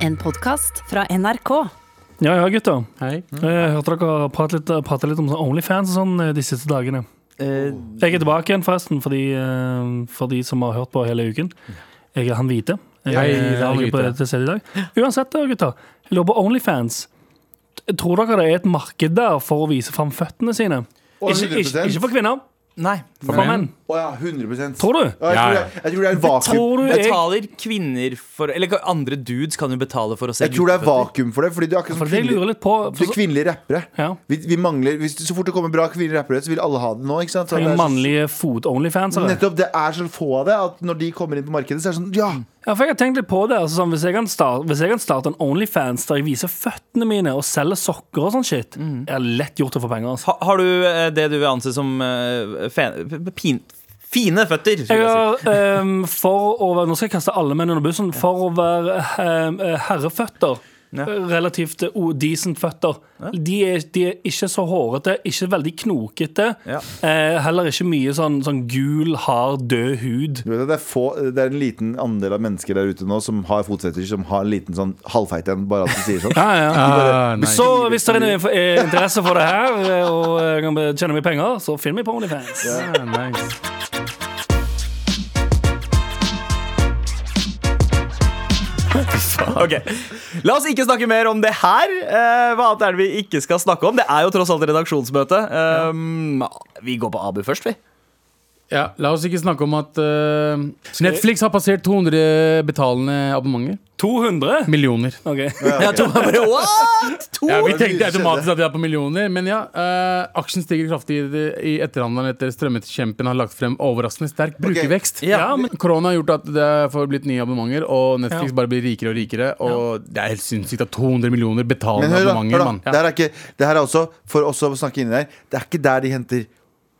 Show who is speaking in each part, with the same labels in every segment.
Speaker 1: En podkast fra NRK.
Speaker 2: Ja, ja, gutter.
Speaker 3: Hei.
Speaker 2: Jeg hørte dere prate litt, prate litt om sånn Onlyfans og sånn eh, de siste dagene.
Speaker 4: Eh,
Speaker 2: Jeg er tilbake igjen, forresten, for de, eh, for de som har hørt på hele uken. Jeg er han hvite. Jeg
Speaker 3: Hei,
Speaker 2: er
Speaker 3: han
Speaker 2: aldri på
Speaker 3: hvite.
Speaker 2: til stede i dag. Uansett, da, gutter. Jeg lurer på Onlyfans. Tror dere det er et marked der for å vise fram føttene sine?
Speaker 4: Å,
Speaker 2: Ikke,
Speaker 4: 100%.
Speaker 2: ikke, ikke for kvinner,
Speaker 5: Nei.
Speaker 2: for menn.
Speaker 4: Å ja, 100
Speaker 2: Tror du?
Speaker 4: Ja, jeg, tror
Speaker 3: Ja, ja.
Speaker 4: det, jeg tror det er en vakuum.
Speaker 2: Tror du jeg,
Speaker 5: Betaler kvinner for Eller andre dudes kan jo betale for å se
Speaker 4: Jeg tror det er
Speaker 5: gutteføtter.
Speaker 4: vakuum for det, fordi du er akkurat som
Speaker 2: for det jeg
Speaker 4: sånn kvinnelige,
Speaker 2: lurer litt på
Speaker 4: du er
Speaker 2: for så,
Speaker 4: kvinnelige rappere.
Speaker 2: ja.
Speaker 4: Vi, vi mangler, hvis, så fort det kommer bra kvinnelige rappere, så vil alle ha det nå. Ikke sant? Så det
Speaker 2: Trenger
Speaker 4: er så-
Speaker 2: mannlige fot-onlyfansere.
Speaker 4: Nettopp, Det er så få av det at når de kommer inn på markedet, så er det sånn Ja!
Speaker 2: Ja, for jeg har tenkt litt på det altså, sånn, hvis, jeg kan starte, hvis jeg kan starte en Onlyfans der jeg viser føttene mine og selger sokker og sånn shit,
Speaker 5: Mm.
Speaker 2: jeg har lett gjort det for penger. Altså.
Speaker 5: Ha, har du eh, det du vil anse som eh, fe- p- pin, fine føtter?
Speaker 2: Jeg
Speaker 5: skulle jeg si.
Speaker 2: har, ehm, for å være, nå skal jeg kaste alle menn under bussen. For å være ehm, eh, herreføtter,
Speaker 5: Ja.
Speaker 2: eh, relativt eh, o- decent føtter, de, er, de er ikke så hårete, ikke veldig knokete.
Speaker 5: Ja.
Speaker 2: eh, heller ikke mye sånn, sånn gul, hard, død hud.
Speaker 4: Du vet at det, er få, det er en liten andel av mennesker der ute nå som har fotsetter, som har en liten sånn halvfeit en, bare at de sier sånn.
Speaker 2: Ja, ja.
Speaker 3: Ah, nei.
Speaker 2: Så hvis det er noe inf- eh, interesse for det her, eh, og jeg kan tjene mye penger, så finn meg på Onlyfans.
Speaker 3: Ah, nice.
Speaker 5: Ok. La oss ikke snakke mer om det her. Eh, hva annet er det vi ikke skal snakke om? Det er jo tross alt redaksjonsmøte. Um, Vi går på Abu først, vi.
Speaker 3: Ja, la oss ikke snakke om at eh, Netflix har passert 200 betalende abonnementer.
Speaker 2: 200?
Speaker 3: Millioner.
Speaker 2: Ok.
Speaker 5: Jeg tror bare, What? To?
Speaker 3: Ja, vi
Speaker 4: det
Speaker 3: tenkte
Speaker 4: skjedde.
Speaker 3: automatisk at vi er på millioner, men ja. eh, aksjen stiger kraftig i, det- i etterhandelen etter strømmetkjempen har lagt frem overraskende sterk brukervekst.
Speaker 5: Ja, men
Speaker 3: Korona har gjort at det får blitt nye abonnementer, og Netflix bare blir rikere og rikere. Og det er helt sinnssykt at 200 millioner
Speaker 4: Men
Speaker 3: betalende
Speaker 4: hør da, hør
Speaker 3: abonnementer,
Speaker 4: da.
Speaker 3: mann.
Speaker 4: Det her er ikke Det her er også, for oss å snakke inni der, det er ikke der de henter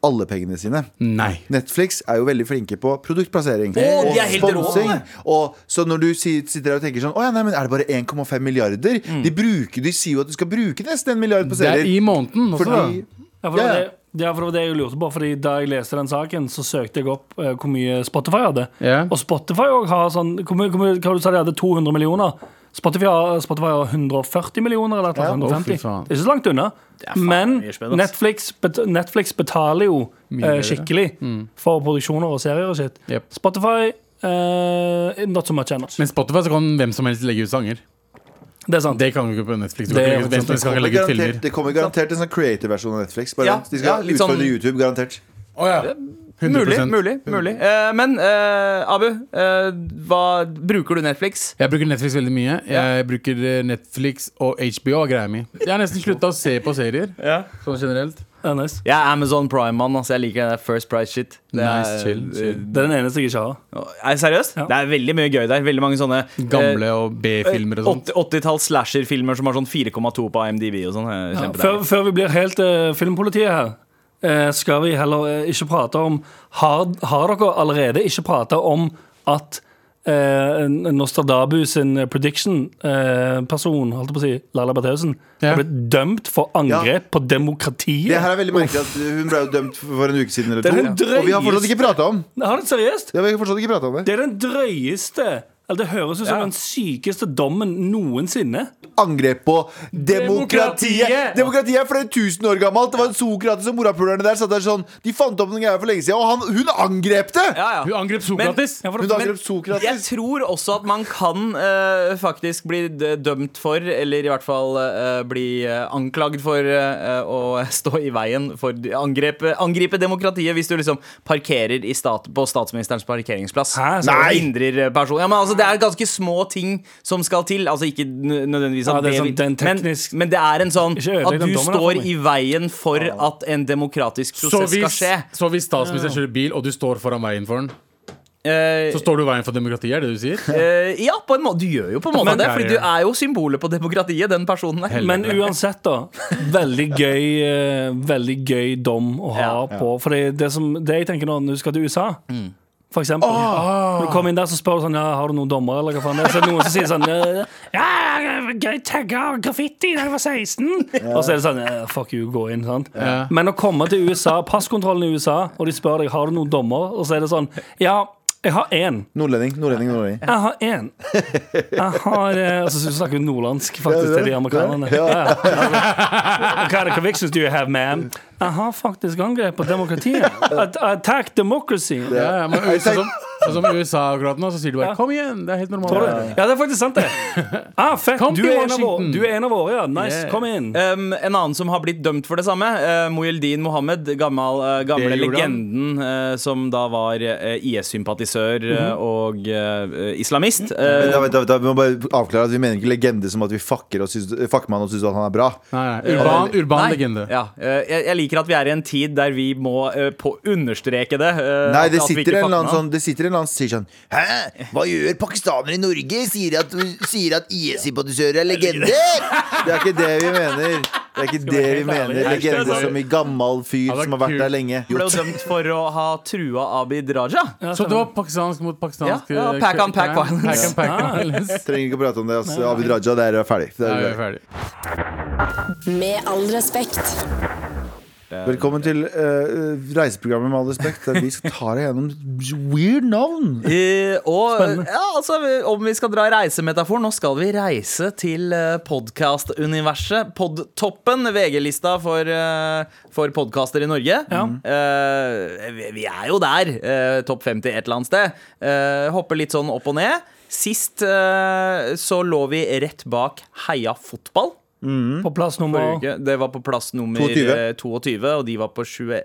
Speaker 4: alle pengene sine.
Speaker 3: Nei.
Speaker 4: Netflix er jo veldig flinke på produktplassering
Speaker 5: Å, de er helt rå, det.
Speaker 4: Og så når du si- sitter der og tenker sånn Å ja, nei, men er det bare 1,5 milliarder?
Speaker 5: Mm.
Speaker 4: De, bruker, de sier jo at du skal bruke nesten en milliard på
Speaker 3: Det er
Speaker 4: serier.
Speaker 3: i måneden også.
Speaker 4: Fordi
Speaker 2: Ja, for det, var
Speaker 4: Ja, ja.
Speaker 2: det, ja, for det var det jeg lurte på. Fordi Da jeg leste den saken, så søkte jeg opp eh, hvor mye Spotify hadde.
Speaker 3: Ja.
Speaker 2: Og Spotify også har sånn hvor mye, hvor mye, Hva du sa de hadde 200 millioner? Spotify har, Spotify har 140 millioner eller et eller annet,
Speaker 3: Ja, å, fy
Speaker 2: 150.
Speaker 3: faen.
Speaker 2: det er ikke så langt unna. Men
Speaker 5: mye spenn, ass.
Speaker 2: Netflix, bet, Netflix betaler jo eh,
Speaker 3: bedre. Mm.
Speaker 2: skikkelig for produksjoner og serier og shit.
Speaker 3: Jep.
Speaker 2: Spotify eh, not so much ennå.
Speaker 3: Men Spotify så kan hvem som helst legge ut sanger.
Speaker 2: Det er sant.
Speaker 3: Det kan du ikke på Netflix. Du
Speaker 2: Det
Speaker 3: kan
Speaker 2: er
Speaker 3: ikke,
Speaker 2: også
Speaker 3: hvem som helst kan ikke legge ut filmer.
Speaker 4: det kommer garantert en sånn creative-versjon av Netflix. Bare,
Speaker 5: Ja,
Speaker 4: de skal
Speaker 5: ja, litt
Speaker 4: utfordre
Speaker 5: sånn-
Speaker 4: YouTube, garantert.
Speaker 3: Å ja. 100%.
Speaker 5: Mulig, mulig. mulig. Eh, men eh, Abu, eh, hva, bruker du Netflix?
Speaker 3: Jeg bruker Netflix veldig mye. Jeg bruker eh, Netflix og HBO er greia mi. Jeg har nesten slutta å se på serier. Sånn generelt.
Speaker 2: Det er, nice.
Speaker 5: Jeg er Amazon Prime-mann. Altså, jeg liker det der First Price-shit. Det er-
Speaker 3: Nice, chill, chill.
Speaker 2: det er den eneste jeg ikke har.
Speaker 5: Nei, seriøst?
Speaker 2: Ja.
Speaker 5: Det er veldig mye gøy der. Veldig mange sånne eh,
Speaker 3: Gamle og B-filmer og sånt.
Speaker 5: 80- 80-talls slasher-filmer som har sånn 4,2 på IMDb og sånn. eh,
Speaker 2: Ja,
Speaker 5: kjempedeilig.
Speaker 2: før, før vi blir helt eh, filmpolitiet her, eh, skal vi heller eh, ikke prate om har, har dere allerede ikke prata om at eh, Nostradabu sin prediction-person, holdt jeg på å si, Laila Bertheussen,
Speaker 3: Ja.
Speaker 2: er blitt dømt for angrep på demokratiet.
Speaker 4: Det her er veldig merkelig at Hun ble jo dømt for en uke siden eller
Speaker 2: Det
Speaker 4: to.
Speaker 2: er den
Speaker 4: Og vi har fortsatt ikke prata om
Speaker 2: Har det seriøst?
Speaker 4: det. Har vi fortsatt ikke pratet om det.
Speaker 2: Det er den drøyeste eller Det høres ut som
Speaker 5: Ja.
Speaker 2: den sykeste dommen noensinne.
Speaker 4: Angrep på demokratiet!
Speaker 2: Demokratiet!
Speaker 4: Demokratiet er flere tusen år gammelt. Det var en Sokrates og morapulerne der satt der sånn De fant opp noen greier for lenge siden, og han, hun angrep det!
Speaker 5: ja, ja.
Speaker 3: Hun angrep Sokrates.
Speaker 2: Ja, for
Speaker 4: Hun
Speaker 2: det,
Speaker 5: Men-
Speaker 4: angrep
Speaker 5: Jeg
Speaker 4: Sokrates.
Speaker 5: tror også at man kan eh, faktisk bli d- dømt for, eller i hvert fall eh, bli eh, anklagd for, eh, å stå i veien for de- angrepe, angripe demokratiet hvis du liksom parkerer i stat, på statsministerens parkeringsplass.
Speaker 2: Hæ?
Speaker 5: Så
Speaker 4: Nei!
Speaker 5: det hindrer eh, person. Ja, men altså, det er ganske små ting som skal til. Altså ikke n- nødvendigvis
Speaker 2: Ja,
Speaker 5: at
Speaker 2: det er sånn-
Speaker 5: det
Speaker 2: det er en
Speaker 5: men,
Speaker 2: teknisk-
Speaker 5: men det er en sånn
Speaker 2: Ikke ødelegg
Speaker 5: at
Speaker 2: den dommen
Speaker 5: du
Speaker 2: her for
Speaker 5: står
Speaker 2: meg.
Speaker 5: i veien for at en demokratisk
Speaker 3: Så
Speaker 5: prosess skal
Speaker 3: hvis,
Speaker 5: skje.
Speaker 3: så hvis statsministeren kjører bil, og du står foran veien for den,
Speaker 5: Eh,
Speaker 3: så står du i veien for demokratiet? er det du sier?
Speaker 5: Eh, ja, på en måte. Du gjør jo på en måte
Speaker 3: Men-
Speaker 5: det, fordi du er jo symbolet på demokratiet, den personen der.
Speaker 2: Men uansett, da. Veldig gøy, eh, veldig gøy dom å ha
Speaker 5: Ja.
Speaker 2: på. For det, det, som, det jeg tenker nå, når du skal til USA For eksempel. Når du kommer inn der, så spør du sånn ja, Har du noen dommer, eller hva faen? det er?" Så er det noen som sier sånn «Ja, Ja, jeg tagga graffiti da jeg var 16. Og så er det sånn «Ja, Fuck you, gå inn. Sant?
Speaker 3: Ja.
Speaker 2: Men å komme til USA, passkontrollen i USA, og de spør deg har du noen dommer, og så er det sånn Ja, Jeg har én.
Speaker 4: Nordlending, nordlending, nordlending.
Speaker 2: Jeg har én. Jeg har eh, altså, Så snakker vi nordlandsk faktisk til de amerikanerne. Ja, ja. What kind of convictions do you have, man? Jeg har faktisk angrep på demokratiet. At- Attack democracy.
Speaker 3: Ja, ja, men USA, som, sånn som USA akkurat nå, så sier du bare 'kom igjen', det er helt
Speaker 2: Tror du?
Speaker 3: normalt.
Speaker 2: Ja, det er faktisk sant, det. Ah, fett.
Speaker 3: Kom
Speaker 2: Du
Speaker 3: til
Speaker 2: er, en av våre,
Speaker 3: Washington.
Speaker 2: du er en av våre, ja. Nice.
Speaker 3: Yeah.
Speaker 2: Kom inn.
Speaker 5: Um, en annen som har blitt dømt for det samme, uh, Mohyldin Mohammed. Gammel, uh, gamle
Speaker 3: Det gjorde
Speaker 5: legenden uh, som da var uh, IS-sympatisør uh, og uh, islamist.
Speaker 4: Mhm. Men
Speaker 5: Uh,
Speaker 4: Eh, da, da, da, vi må bare avklare at vi mener ikke legende som at vi fucker, og syns, fucker man og syns at han er bra.
Speaker 3: Nei, nei, urban urban
Speaker 5: nei.
Speaker 3: legende.
Speaker 5: Ja, eh, jeg, jeg liker at vi er i en tid der vi må eh, på understreke det. eh,
Speaker 4: Nei,
Speaker 5: at-
Speaker 4: det
Speaker 5: at vi
Speaker 4: sitter,
Speaker 5: ikke
Speaker 4: en eller annen
Speaker 5: fatter
Speaker 4: sånn,
Speaker 5: noe.
Speaker 4: det sitter en eller annen som sier sånn Hæ? Hva gjør pakistanere i Norge? Sier at, sier at IS-sympatisører er legender! Det er ikke det vi mener. Det er ikke det vi mener.
Speaker 2: ærlig.
Speaker 4: Legende som i gammal fyr
Speaker 3: Ja, det er
Speaker 4: som har vært
Speaker 3: kult.
Speaker 4: der lenge.
Speaker 5: Ble Altså, jo dømt for å ha trua Abid Raja.
Speaker 3: Så det var pakistansk mot pakistansk eh,
Speaker 5: Ja, ja, pack on pack Ah, violence.
Speaker 3: Pack on pack
Speaker 2: Ja.
Speaker 3: violence.
Speaker 4: Trenger ikke å prate om det. ass. Abid Raja, der er vi ferdig. Der
Speaker 3: Da
Speaker 4: er
Speaker 3: er
Speaker 4: vi
Speaker 3: vi ferdig.
Speaker 1: Med all respekt.
Speaker 4: ferdig. Velkommen til eh, reiseprogrammet Med all respekt. Der vi skal ta deg gjennom weird navn.
Speaker 5: Eh, og ja, altså, om vi skal dra i reisemetafor, nå skal vi reise til eh, podkastuniverset. Podtoppen, VG-lista for, eh, for podkaster i Norge. Mm. Eh, vi- vi er jo der. eh, Topp 50 et eller annet sted. Eh, hopper litt sånn opp og ned. Sist eh, så lå vi rett bak Heia fotball.
Speaker 3: Mm.
Speaker 2: På plass
Speaker 5: forrige
Speaker 2: nummer Nei,
Speaker 5: uke. Det var på plass nummer
Speaker 4: 22.
Speaker 5: eh, 22, og de var på 21.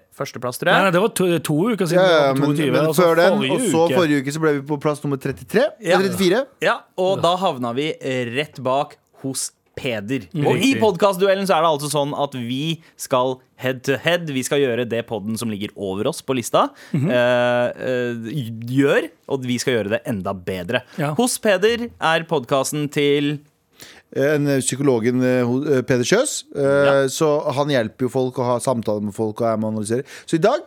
Speaker 5: plass, tror
Speaker 2: nei,
Speaker 5: jeg.
Speaker 2: det var to, to uker siden.
Speaker 4: Ja, ja,
Speaker 2: det var
Speaker 4: men,
Speaker 2: 22,
Speaker 4: men
Speaker 2: og så
Speaker 4: før den,
Speaker 2: forrige
Speaker 4: og så
Speaker 2: uke.
Speaker 4: forrige uke, så ble vi på plass nummer 33.
Speaker 5: altså, Ja.
Speaker 4: Eller 34.
Speaker 5: Ja, og da havna vi rett bak hos Peder. Og i
Speaker 3: Riktig.
Speaker 5: podkastduellen så er det altså sånn at vi skal head to head. Vi skal gjøre det podden som ligger over oss på lista, eh, eh, gjør. Og vi skal gjøre det enda bedre.
Speaker 2: Ja.
Speaker 5: Hos Peder er podkasten til
Speaker 4: en psykologen eh, ho- eh, Peder Kjøs. Eh, Så han hjelper jo folk og har samtaler med folk. Og er med og analyserer Så i dag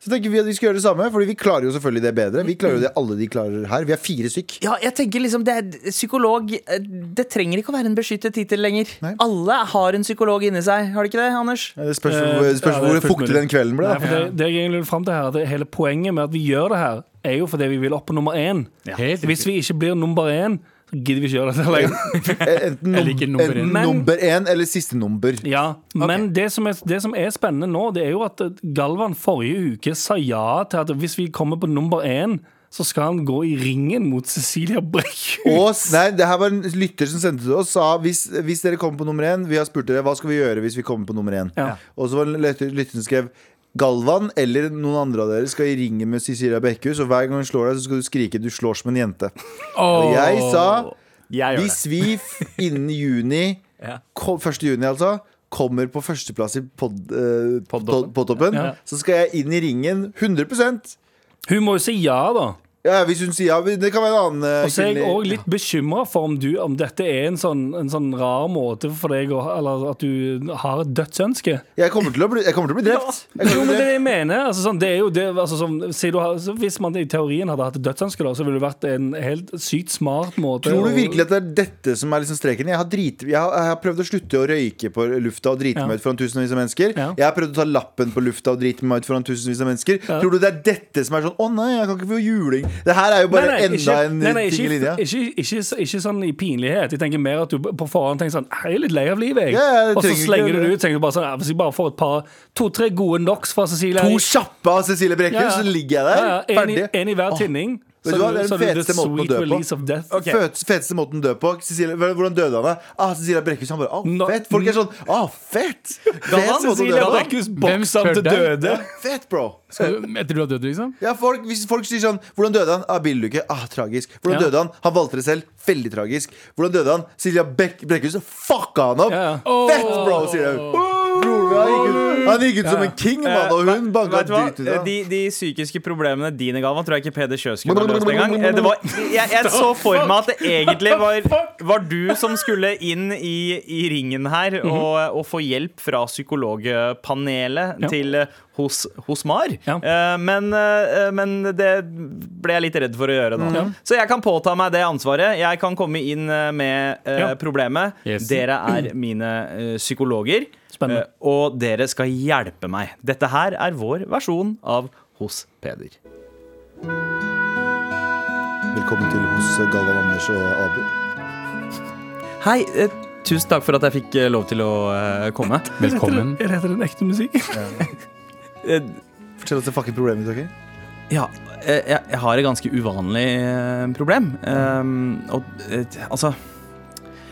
Speaker 4: så tenker vi at vi skal gjøre det samme, Fordi vi klarer jo selvfølgelig det bedre. Vi klarer jo det alle de klarer her. Vi er fire stykk.
Speaker 5: Ja, jeg tenker liksom det er Psykolog eh, Det trenger ikke å være en beskyttet tittel lenger.
Speaker 4: Nei.
Speaker 5: Alle har en psykolog inni seg, har de ikke det, Anders?
Speaker 4: Det spørs,
Speaker 2: Eh,
Speaker 4: hvor- spørs
Speaker 2: ja, det er
Speaker 4: hvor
Speaker 2: fullt
Speaker 4: fuktig
Speaker 2: mulig.
Speaker 4: den kvelden ble.
Speaker 2: Nei,
Speaker 4: Da.
Speaker 2: for det, det jeg egentlig vil frem til her er at det Hele poenget med at vi gjør det her, er jo fordi vi vil opp på nummer én.
Speaker 3: Helt
Speaker 2: Hvis vi ikke blir nummer én, så gidder vi ikke gjøre dette lenger.
Speaker 4: Eh, Enten,
Speaker 3: Jeg
Speaker 4: num
Speaker 3: liker nummer
Speaker 4: enten
Speaker 3: én.
Speaker 2: Men-
Speaker 4: nummer én eller siste nummer.
Speaker 2: Ja, Men det som, er, det som er spennende nå, det er jo at eh, Galvan forrige uke sa ja til at hvis vi kommer på nummer én, så skal han gå i ringen mot Cecilia Brekkhus.
Speaker 4: Og, s- nei, det her var en lytter som sendte det og sa hvis, hvis dere kommer på nummer én Vi har spurt dere hva skal vi gjøre hvis vi kommer på nummer én.
Speaker 2: Ja.
Speaker 4: Og så var det en lytter, lytter som skrev Galvan eller noen andre av dere skal i ringen med Cecilia Bekkhus, og hver gang hun slår deg, så skal du skrike 'du slår som en jente'. Og jeg sa
Speaker 5: Jeg gjør
Speaker 4: hvis vi f- innen juni,
Speaker 5: Ja.
Speaker 4: kom, 1. juni altså, kommer på førsteplass i pod, eh, pod-
Speaker 5: Podtoppen.
Speaker 4: podtoppen,
Speaker 2: Ja.
Speaker 4: så skal jeg inn i ringen 100
Speaker 2: Hun må jo si ja, da.
Speaker 4: ja, Hvis hun sier ja, men det kan være en annen eh,
Speaker 2: Og så er jeg
Speaker 4: kvinnelig-
Speaker 2: òg litt bekymra for om, du, om dette er en sånn, en sånn rar måte for deg å Eller at du har et dødsønske.
Speaker 4: Jeg kommer til å bli, jeg kommer til å bli drept. Jeg
Speaker 2: Jo,
Speaker 4: kommer
Speaker 2: men det
Speaker 4: til å
Speaker 2: er
Speaker 4: bli drept.
Speaker 2: det jeg mener. Altså, sånn, det er jo det, altså, sånn, si du har, så hvis man i teorien hadde hatt et dødsønske, da, så ville det vært en helt sykt smart måte å-
Speaker 4: Tror du virkelig at det er dette som er liksom streken? Jeg har, drit, jeg, har, jeg har prøvd å slutte å røyke på lufta og drite
Speaker 2: Ja.
Speaker 4: meg ut foran tusenvis av mennesker.
Speaker 2: Ja.
Speaker 4: Jeg har prøvd å ta lappen på lufta og drite meg ut foran tusenvis av mennesker. Tror du det er dette som er sånn 'Å nei, jeg kan ikke få juling'? Det her er jo bare enda
Speaker 2: ikke-
Speaker 4: en
Speaker 2: nei, nei,
Speaker 4: ting i linja.
Speaker 2: ikke, ikke, ikke, ikke sånn i pinlighet. Jeg tenker mer at du på forhånd tenker sånn Jeg er litt lei av livet, jeg.
Speaker 4: Ja, ja, det
Speaker 2: og så
Speaker 4: trenger ikke-
Speaker 2: slenger du det ut. Tenker du bare sånn, «Ja, Hvis jeg bare får et par to-tre gode knocks fra Cecilie
Speaker 4: To kjappe av Cecilie Brekkhus, så ligger jeg der.
Speaker 2: En, i-
Speaker 4: Ferdig.
Speaker 2: en i hver tinning.
Speaker 4: Vet du hva, det er den
Speaker 2: så du-
Speaker 4: feteste måten å
Speaker 2: sweet
Speaker 4: dø på.
Speaker 2: release of death.
Speaker 4: Føt, feteste måten å dø på. Cecilie, hvordan døde han? da? Ah, Cecilia Brekkhus. Han bare 'Å,
Speaker 2: Nå-
Speaker 4: fett'. Folk er sånn 'Å, fett'. Feteste måten å
Speaker 2: Cecilia
Speaker 4: dø på.
Speaker 2: Brekkhus boksa
Speaker 3: spør
Speaker 2: til
Speaker 3: deg?
Speaker 2: døde.
Speaker 4: Fett, bro.
Speaker 3: Skal du- Etter du har dødd, liksom?
Speaker 4: Ja, folk, hvis folk sier sånn Hvordan døde han? Ah, bilulykke. Ah, tragisk. Hvordan
Speaker 2: Ja.
Speaker 4: døde han? Han valgte det selv. Veldig tragisk. Hvordan døde han? Silja Bek Brekkhus fucka han opp.
Speaker 2: Ja.
Speaker 4: Fett, bro, sier hun. Bror, han gikk ut, han gikk ut som en king, mann, og hun banka
Speaker 5: Vet du Eh, hva?
Speaker 4: dritt ut av
Speaker 5: De,
Speaker 4: ham.
Speaker 5: de psykiske problemene dine, Galvan, tror jeg ikke Peder Kjøs kunne løst engang. Eh, Det var, jeg, jeg så for meg at det egentlig var, var du som skulle inn i, i ringen her
Speaker 2: Mhm.
Speaker 5: og, og få hjelp fra psykologpanelet
Speaker 2: Ja.
Speaker 5: til eh, hos, hos Mar.
Speaker 2: Ja.
Speaker 5: Eh, Men, eh, men det ble jeg litt redd for å gjøre
Speaker 2: Mhm.
Speaker 5: nå. Så jeg kan påta meg det ansvaret. Jeg kan komme inn eh, med eh,
Speaker 2: Ja.
Speaker 5: problemet.
Speaker 3: Yes.
Speaker 5: Dere er mine eh, psykologer.
Speaker 2: Spennende.
Speaker 5: Eh, Og dere skal hjelpe meg. Dette her er vår versjon av Hos Peder.
Speaker 4: Velkommen til hos Galvan Anders og Abu.
Speaker 5: Hei, eh, tusen takk for at jeg fikk eh, lov til å eh, komme.
Speaker 3: Velkommen.
Speaker 2: Er dette den ekte musikken?
Speaker 5: Eh,
Speaker 4: Fortell oss det fucking problemet ditt, OK?
Speaker 5: Ja, eh, jeg, jeg har et ganske uvanlig eh, problem. Ehm, og eh, altså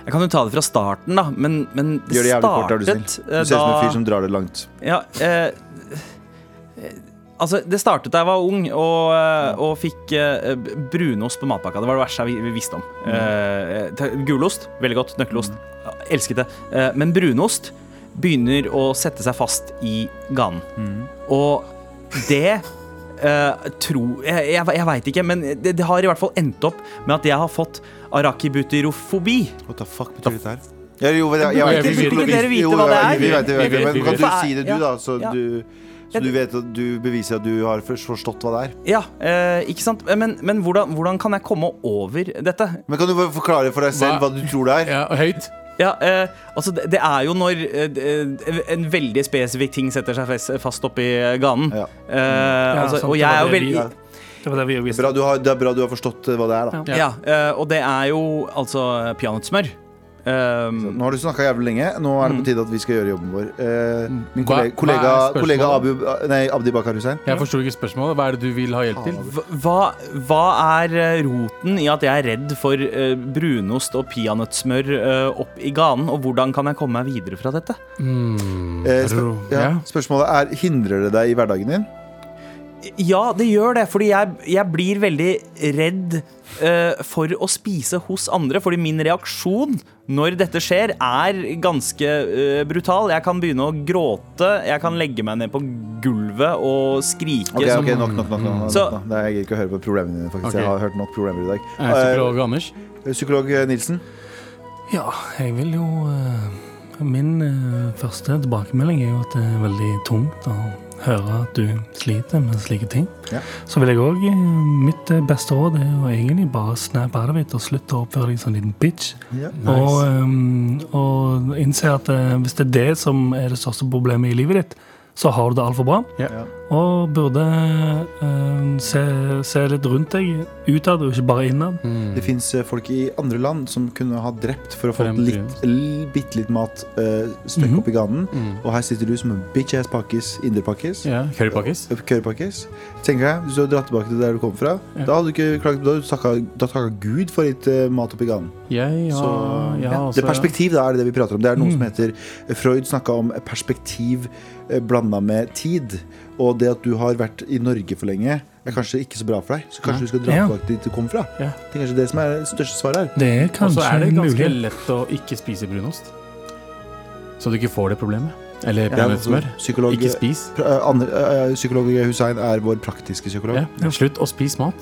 Speaker 5: Jeg kan jo ta det fra starten, da, men, men det
Speaker 4: Gjør det jævlig kort, er
Speaker 5: startet
Speaker 4: du snill. Du ser
Speaker 5: eh,
Speaker 4: ut som en fyr
Speaker 5: da-
Speaker 4: som drar det langt.
Speaker 5: ja, eh, eh, Altså, Det startet da jeg var ung og, eh, og fikk eh, b- brunost på matpakka. Det var det verste jeg vi- vi visste om. Eh, te- gulost, veldig godt. Nøkkelost. Elsket det. Eh, men brunost begynner å sette seg fast i ganen. Og det eh, tro Jeg, jeg, jeg veit ikke, men det, det har i hvert fall endt opp med at jeg har fått arakibutyrofobi.
Speaker 6: What the fuck betyr dette her?
Speaker 4: Ja, jo, jeg, jeg,
Speaker 3: Vi
Speaker 4: vet
Speaker 3: vet-
Speaker 4: ikke.
Speaker 5: Vil dere vite
Speaker 4: Jo,
Speaker 5: hva det
Speaker 4: jeg-
Speaker 5: er?
Speaker 4: Vi vet, det, vi vet, det.
Speaker 3: Vi vet, vi
Speaker 4: men kan
Speaker 5: vet.
Speaker 4: du si det, du, da? Så
Speaker 5: Ja.
Speaker 4: du, så du vet at du beviser at du har først forstått hva det er.
Speaker 5: Ja, eh, ikke sant? Men, men hvordan, hvordan kan jeg komme over dette?
Speaker 4: Men kan du bare forklare for deg selv hva
Speaker 3: Hva?
Speaker 4: du tror det er?
Speaker 3: Ja, høyt.
Speaker 5: Ja, eh, altså det, det er jo når eh, eh, en veldig spesifikk ting setter seg fest, fast oppi eh, ganen.
Speaker 4: Ja.
Speaker 5: Eh,
Speaker 2: Mm.
Speaker 5: altså, og jeg er jo veldig ja.
Speaker 2: Det var det vi
Speaker 4: Bra,
Speaker 2: visste.
Speaker 4: du har, det er bra du har forstått eh, hva det er, da.
Speaker 3: Ja.
Speaker 5: eh, Og det er jo altså peanøttsmør.
Speaker 4: Så
Speaker 5: Eh,
Speaker 4: Nå har du snakka jævlig lenge. Nå er det på tide at vi skal gjøre jobben vår. Eh,
Speaker 3: Mm.
Speaker 4: min
Speaker 3: Hva-
Speaker 4: kollega, kollega,
Speaker 3: hva er
Speaker 4: kollega Abu, eh,
Speaker 3: spørsmålet?
Speaker 4: nei, Abdi Bakar Hussein.
Speaker 3: Jeg forsto ikke spørsmålet. Hva er det du vil ha hjelp til?
Speaker 5: hva- hva, hva er eh, roten i at jeg er redd for eh, brunost og peanøttsmør eh, opp i ganen? Og hvordan kan jeg komme meg videre fra dette?
Speaker 4: Eh, spør, ja.
Speaker 3: Ja.
Speaker 4: Spørsmålet er hindrer det deg i hverdagen din.
Speaker 5: Ja, det gjør det, fordi jeg, jeg blir veldig redd eh, for å spise hos andre. Fordi min reaksjon når dette skjer, er ganske eh, brutal. Jeg kan begynne å gråte, jeg kan legge meg ned på gulvet og skrike.
Speaker 4: Ok,
Speaker 5: som-
Speaker 4: ok, Nok, nok, nok. nok, nok,
Speaker 5: Så-
Speaker 4: nok. Nei, jeg gidder ikke å høre på problemene dine.
Speaker 3: Ok.
Speaker 4: faktisk Jeg har hørt nok problemer i dag.
Speaker 3: Jeg er psykolog Anders.
Speaker 4: Eh, psykolog eh, Nilsen.
Speaker 2: Ja, jeg vil jo eh, Min eh, første tilbakemelding er jo at det er veldig tungt å høre at du sliter med slike ting.
Speaker 4: Ja.
Speaker 2: Så vil jeg òg Mitt eh, beste råd er jo egentlig bare snap out of it og slutt å oppføre deg som en liten bitch.
Speaker 4: Ja.
Speaker 2: Og, ehm, og innse at eh, hvis det er det som er det største problemet i livet ditt, så har du det altfor bra.
Speaker 3: Ja.
Speaker 4: Ja.
Speaker 2: Og burde eh, se, se litt rundt deg, utad og ikke bare innad.
Speaker 3: Mm.
Speaker 4: Det fins folk i andre land som kunne ha drept for å få
Speaker 3: For Mhm. en
Speaker 4: litt, l- bitte litt mat uh, støkk opp i ganen. Og her sitter du som en bitch ass pakkis, inderpakkis.
Speaker 3: Mm. Ja, Currypakkis.
Speaker 4: Kørpakkis. Tenker jeg, Hvis du hadde dratt tilbake til der du kom fra, da hadde du ikke klaget Da hadde du takka, da takka Gud for litt eh, mat oppi ganen.
Speaker 3: Jeg
Speaker 4: Så
Speaker 3: har jeg
Speaker 4: ja,
Speaker 3: har
Speaker 4: det
Speaker 3: også
Speaker 4: er perspektiv, da er det det vi prater om. Det er noe som heter eh, Freud snakka om perspektiv blanda med tid. Og det at du har vært i Norge for lenge, er kanskje ikke så bra for deg. Så kanskje du skal dra
Speaker 2: Ja.
Speaker 4: tilbake dit du kom fra.
Speaker 3: Ja.
Speaker 4: Det er kanskje det som er det største svaret her.
Speaker 2: Det er
Speaker 3: Og så
Speaker 2: kanskje
Speaker 3: er det ganske
Speaker 2: mulig.
Speaker 3: lett å ikke spise brunost. Så du ikke får det problemet. Eller
Speaker 4: Ja,
Speaker 3: peanøttsmør.
Speaker 4: altså, psykolog-
Speaker 3: Ikke spis.
Speaker 4: Pra- eh, andre, eh, psykolog Hussein er vår praktiske psykolog.
Speaker 3: Ja. Slutt å spise mat.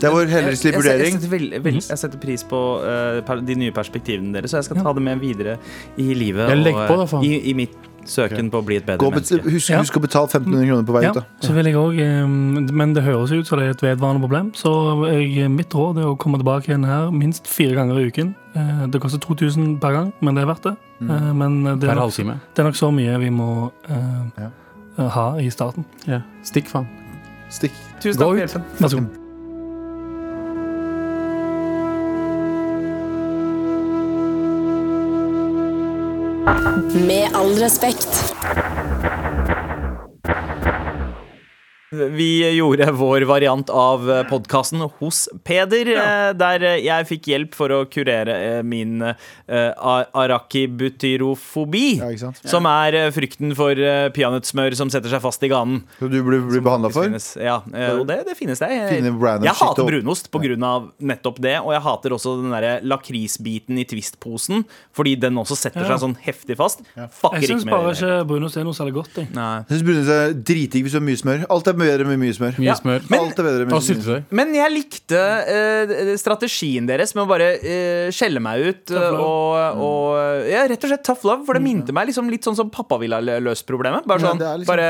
Speaker 4: Det er vår helhetlige
Speaker 5: Jeg- jeg setter-
Speaker 4: vurdering.
Speaker 5: Jeg setter, veld- veld- jeg setter pris på eh, per- de nye perspektivene deres, så jeg skal ta det med videre i livet.
Speaker 3: Ja, legg
Speaker 5: og, eh,
Speaker 3: på da, faen.
Speaker 5: i, I mitt søken på å bli et bedre
Speaker 4: Gå og bet-
Speaker 5: menneske.
Speaker 4: husk,
Speaker 2: Ja.
Speaker 4: husk å betale 1500 kroner på vei
Speaker 2: Ja,
Speaker 4: ut. da
Speaker 2: så vil jeg også, ehm, Men det høres ut som det er et vedvarende problem, så jeg, eh, mitt råd er å komme tilbake igjen her minst fire ganger i uken. Eh, Det koster 2000 per gang, men det er verdt det. Eh, Men det er
Speaker 3: Per
Speaker 2: nok,
Speaker 3: halvtime.
Speaker 2: det er nok så mye vi må eh, ha i starten.
Speaker 3: Ja. Stikk, faen.
Speaker 4: Stikk.
Speaker 3: Gå
Speaker 5: Tusen takk for
Speaker 3: ut.
Speaker 5: hjelpen.
Speaker 2: Vær så god.
Speaker 1: Med all respekt.
Speaker 5: Vi gjorde vår variant av podkasten Hos Peder, eh, der eh, jeg fikk hjelp for å kurere eh, min eh, a- arakibutyrofobi.
Speaker 4: Ja, ikke sant?
Speaker 5: Som er eh, frykten for eh, peanøttsmør som setter seg fast i ganen.
Speaker 4: Så du blir, blir behandla
Speaker 5: Det
Speaker 4: for?
Speaker 5: finnes, ja, eh, og det, det finnes det. Jeg,
Speaker 4: Finne random
Speaker 5: jeg
Speaker 4: shit
Speaker 5: hater
Speaker 4: og-
Speaker 5: brunost pga. nettopp det, og jeg hater også den der lakrisbiten i Twist-posen, fordi den også setter
Speaker 2: Ja.
Speaker 5: seg sånn heftig fast. Fucker
Speaker 2: Jeg syns
Speaker 5: ikke med
Speaker 2: bare
Speaker 5: det.
Speaker 2: ikke brunost er noe særlig godt. Jeg.
Speaker 5: Nei.
Speaker 4: Jeg synes brune er dritdigg hvis du har mye smør. Alt er bedre med mye smør.
Speaker 3: Mye
Speaker 5: Ja,
Speaker 3: smør.
Speaker 5: men-
Speaker 4: Alt er bedre med
Speaker 3: Og syltetøy.
Speaker 5: Men jeg likte eh, strategien deres med å bare eh, skjelle meg ut. eh,
Speaker 2: love.
Speaker 5: og, og
Speaker 4: Mm.
Speaker 5: Ja, rett og slett tough love, for det minte meg liksom litt sånn som pappa ville ha løst problemet. Bare
Speaker 4: Ja,
Speaker 5: sånn,
Speaker 4: det er liksom-
Speaker 5: bare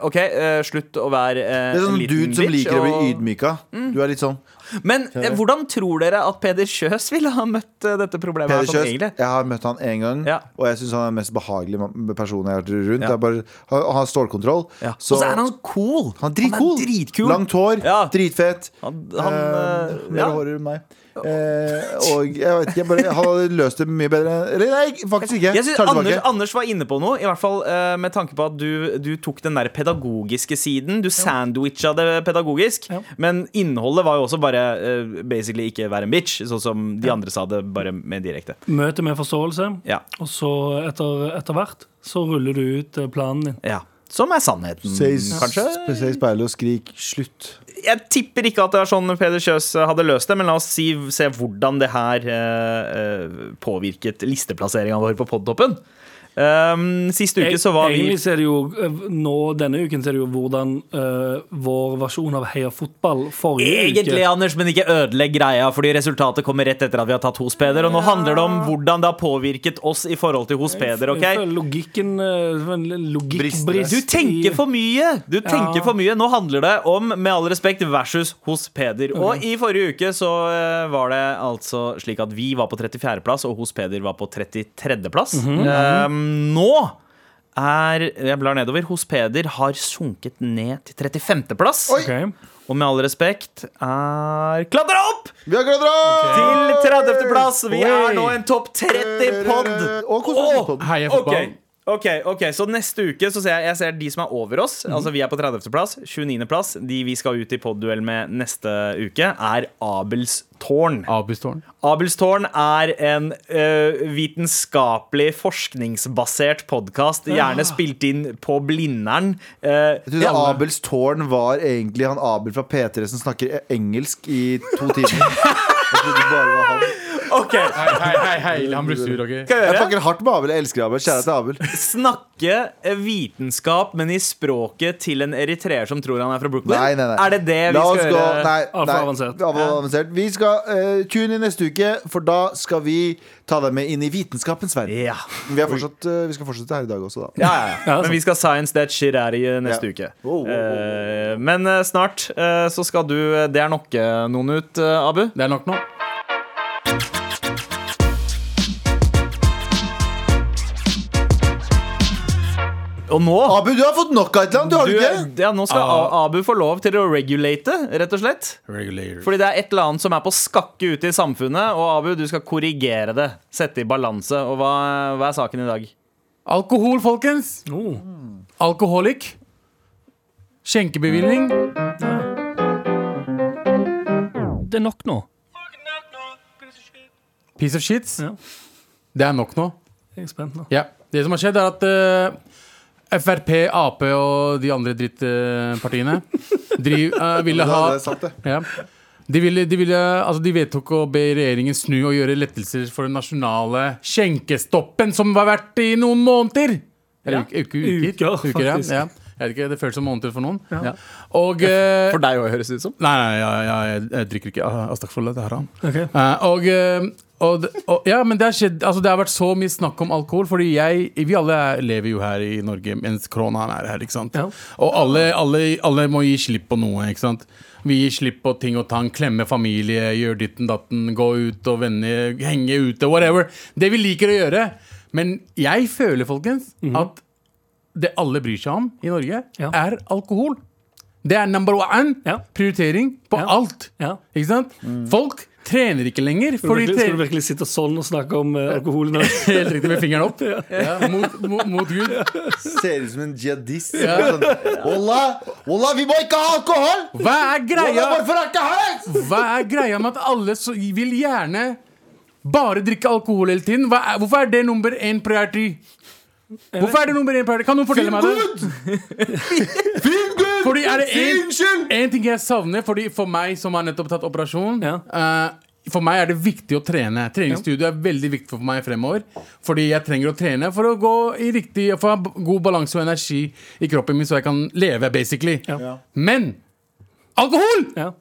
Speaker 5: eh, OK, eh, slutt å være eh,
Speaker 4: Det er
Speaker 5: en
Speaker 4: sånn
Speaker 5: liten
Speaker 4: dude som
Speaker 5: bitch,
Speaker 4: liker å bli
Speaker 5: og- Mm.
Speaker 4: ydmyka. Du er litt sånn
Speaker 5: Men eh, hvordan tror dere at Peder Kjøs ville ha møtt eh, dette problemet?
Speaker 4: Peder
Speaker 5: her, sånn,
Speaker 4: Kjøs,
Speaker 5: egentlig?
Speaker 4: jeg har møtt han én gang,
Speaker 5: Ja.
Speaker 4: og jeg syns han er den mest behagelige ma- personen jeg har vært rundt.
Speaker 5: Ja.
Speaker 4: Det er bare, han han har stålkontroll.
Speaker 5: Ja.
Speaker 4: så-
Speaker 5: og så er han cool!
Speaker 4: han er dritcool.
Speaker 5: dritkul.
Speaker 4: Langt hår,
Speaker 5: Ja.
Speaker 4: dritfett.
Speaker 5: Han, han,
Speaker 4: eh,
Speaker 5: eh,
Speaker 4: mer
Speaker 5: ja.
Speaker 4: hår enn meg. Eh, og jeg vet ikke, jeg bare, han hadde løst det mye bedre. Eller nei, faktisk ikke.
Speaker 5: Jeg synes
Speaker 4: Tar det
Speaker 5: Anders,
Speaker 4: tilbake.
Speaker 5: Anders var inne på noe, i hvert fall eh, med tanke på at du, du tok den der pedagogiske siden. Du sandwicha det pedagogisk, men innholdet var jo også bare eh, basically ikke være en bitch, sånn som de andre sa det, bare med direkte.
Speaker 2: Møte med forståelse,
Speaker 5: Ja.
Speaker 2: og så etter, etter hvert så ruller du ut eh, planen din.
Speaker 5: ja. Som er sannheten,
Speaker 4: Se i
Speaker 5: kanskje?
Speaker 4: s- Se i speilet og skrik 'slutt'.
Speaker 5: Jeg tipper ikke at det er sånn Peder Kjøs hadde løst det, men la oss si, se hvordan det her eh, eh, påvirket listeplasseringa vår på Podtoppen. Um, sist uke så var vi
Speaker 2: Egentlig så er det jo eh, nå, Denne uken så er det jo hvordan eh, vår versjon av Heia fotball forrige
Speaker 5: Egentlig,
Speaker 2: uke
Speaker 5: Anders, men ikke ødelegg greia, fordi resultatet kommer rett etter at vi har tatt hos Peder. Og nå handler det om hvordan det har påvirket oss i forhold til hos Peder.
Speaker 2: Jeg føler
Speaker 5: ok?
Speaker 2: Logikken eh, en Logikkbrist.
Speaker 4: Brister.
Speaker 5: Du tenker for mye! Du tenker for mye. Nå handler det om Med all respekt versus hos Peder. Og i forrige uke så eh, var det altså slik at vi var på 34.-plass, og hos Peder var på 33.-plass.
Speaker 2: Mhm.
Speaker 5: Eh, nå er Jeg blar nedover. Hos Peder har sunket ned til 35.-plass.
Speaker 2: Ok.
Speaker 5: Og med all respekt er Klatra opp!
Speaker 4: Vi har kladra!
Speaker 5: Til 30. plass. Vi er nå en topp 30-pod.
Speaker 4: Og konspirasjonspodden.
Speaker 3: Heia fotball.
Speaker 5: Ok, ok, Så neste uke så ser jeg, jeg ser de som er over oss.
Speaker 4: Mhm.
Speaker 5: Altså Vi er på 30.-plass. 29.-plass. De vi skal ut i podduell med neste uke, er Abels tårn.
Speaker 3: Abelstårn.
Speaker 5: Abelstårn er en ø, vitenskapelig forskningsbasert podkast, gjerne spilt inn på Blindern. Uh,
Speaker 4: Ah. Jeg trodde Abels tårn var egentlig han Abel fra P3 som snakker e- engelsk i to timer. Jeg trodde det bare var han.
Speaker 5: ok,
Speaker 3: Hei, hei, hei, hei. Han blir sur, OK?
Speaker 5: skal jeg
Speaker 4: Jeg
Speaker 5: gjøre?
Speaker 4: fucker hardt med Abel. Jeg elsker Abel. Kjære til Abel.
Speaker 5: Snakke eh, vitenskap, men i språket til en eritreer som tror han er fra Brooklyn?
Speaker 4: Nei, nei, nei.
Speaker 5: Er det det vi
Speaker 4: La oss
Speaker 5: skal
Speaker 4: gå
Speaker 5: gjøre?
Speaker 4: Nei,
Speaker 2: Alt
Speaker 4: nei.
Speaker 2: for avansert.
Speaker 4: Ja, for avansert. Vi skal eh, tune inn neste uke, for da skal vi ta deg med inn i vitenskapens verden.
Speaker 5: Ja.
Speaker 4: Vi, er fortsatt, eh, vi skal fortsette her i dag også, da.
Speaker 5: Ja, ja, ja. altså. Men vi skal science that shit out i neste
Speaker 4: Ja.
Speaker 5: uke.
Speaker 4: Wow, wow, wow, wow.
Speaker 5: Eh, Men eh, snart eh, så skal du Det er nok eh, noen ut, eh, Abu.
Speaker 3: Det er nok nå.
Speaker 5: Og nå
Speaker 4: Abu, du har fått nok av et eller annet, du Ah, har
Speaker 5: du, eh,
Speaker 4: du ikke?
Speaker 5: ja, nå skal A- Abu få lov til å regulate, rett og slett. Fordi det er et eller annet som er på skakke ute i samfunnet, og Abu, du skal korrigere det. Sette i balanse. Og hva, hva er saken i dag?
Speaker 3: Alkohol, folkens.
Speaker 2: Oh.
Speaker 3: Alkoholik. Skjenkebevilgning.
Speaker 2: Det er nok nå.
Speaker 3: Piece of shit.
Speaker 2: Ja.
Speaker 3: Det er nok nå.
Speaker 2: Jeg er spent nå.
Speaker 3: Ja. Det som har skjedd, er at eh, Frp, Ap og de andre drittpartiene driv, eh, ville
Speaker 4: Ja,
Speaker 3: ha
Speaker 4: det er sant, det.
Speaker 3: ja. de, ville, de, ville, altså de vedtok å be regjeringen snu og gjøre lettelser for den nasjonale skjenkestoppen som har vært i noen måneder. Eller uke- uke- uker.
Speaker 2: Uker,
Speaker 3: ja.
Speaker 2: faktisk.
Speaker 3: ja. Jeg vet ikke, Det føles som måneder for noen. Ja. Og eh,
Speaker 5: For deg òg, høres det ut som.
Speaker 3: Nei, nei, jeg, jeg, jeg, jeg drikker ikke a- Astaghfirullah. Det har han.
Speaker 2: Ok.
Speaker 3: Eh, og, eh, og, d- og Ja, men det har skjedd Altså, det har vært så mye snakk om alkohol, fordi jeg Vi alle er- lever jo her i Norge mens koronaen er her, ikke sant?
Speaker 2: Ja.
Speaker 3: Og alle, alle, alle må gi slipp på noe, ikke sant? Vi gir slipp på ting og tang, klemme familie, gjør ditten datten, gå ut og vende, henge ute, whatever. Det vi liker å gjøre. Men jeg føler, folkens, at det alle bryr seg om i Norge,
Speaker 2: Mhm. Ja.
Speaker 3: er alkohol. Det er number one.
Speaker 2: Ja.
Speaker 3: Prioritering på
Speaker 2: Ja.
Speaker 3: alt.
Speaker 2: Ja.
Speaker 3: Ikke sant? Folk trener ikke lenger.
Speaker 2: Skal du,
Speaker 3: Fordi
Speaker 2: virkelig, skal du
Speaker 3: tre-
Speaker 2: virkelig sitte sånn og snakke om eh, alkohol nå?
Speaker 3: Helt riktig med fingeren opp. Ja. Mot, mot, mot Gud.
Speaker 4: Ser ut som en jihadist. Sånn, Wallah, wallah, vi må ikke ha alkohol!
Speaker 3: Hva er greia,
Speaker 4: Wallah, Hvorfor er ikke her?
Speaker 3: hva er greia med at alle så, vil gjerne bare drikke alkohol hele tiden? Hva er, hvorfor er det nummer én priority? Hvorfor er det nummer én priority? Kan noen fortelle meg det?
Speaker 4: Feel good!
Speaker 3: Fordi er det en-
Speaker 4: Unnskyld!
Speaker 3: En ting jeg savner, fordi for meg som har nettopp tatt operasjon
Speaker 2: Ja.
Speaker 3: eh, For meg er det viktig å trene. Treningsstudio er veldig viktig for meg fremover. Fordi jeg trenger å trene for å gå i riktig For å ha b- god balanse og energi i kroppen min, så jeg kan leve, basically.
Speaker 2: Ja.
Speaker 3: Men alkohol
Speaker 2: Ja.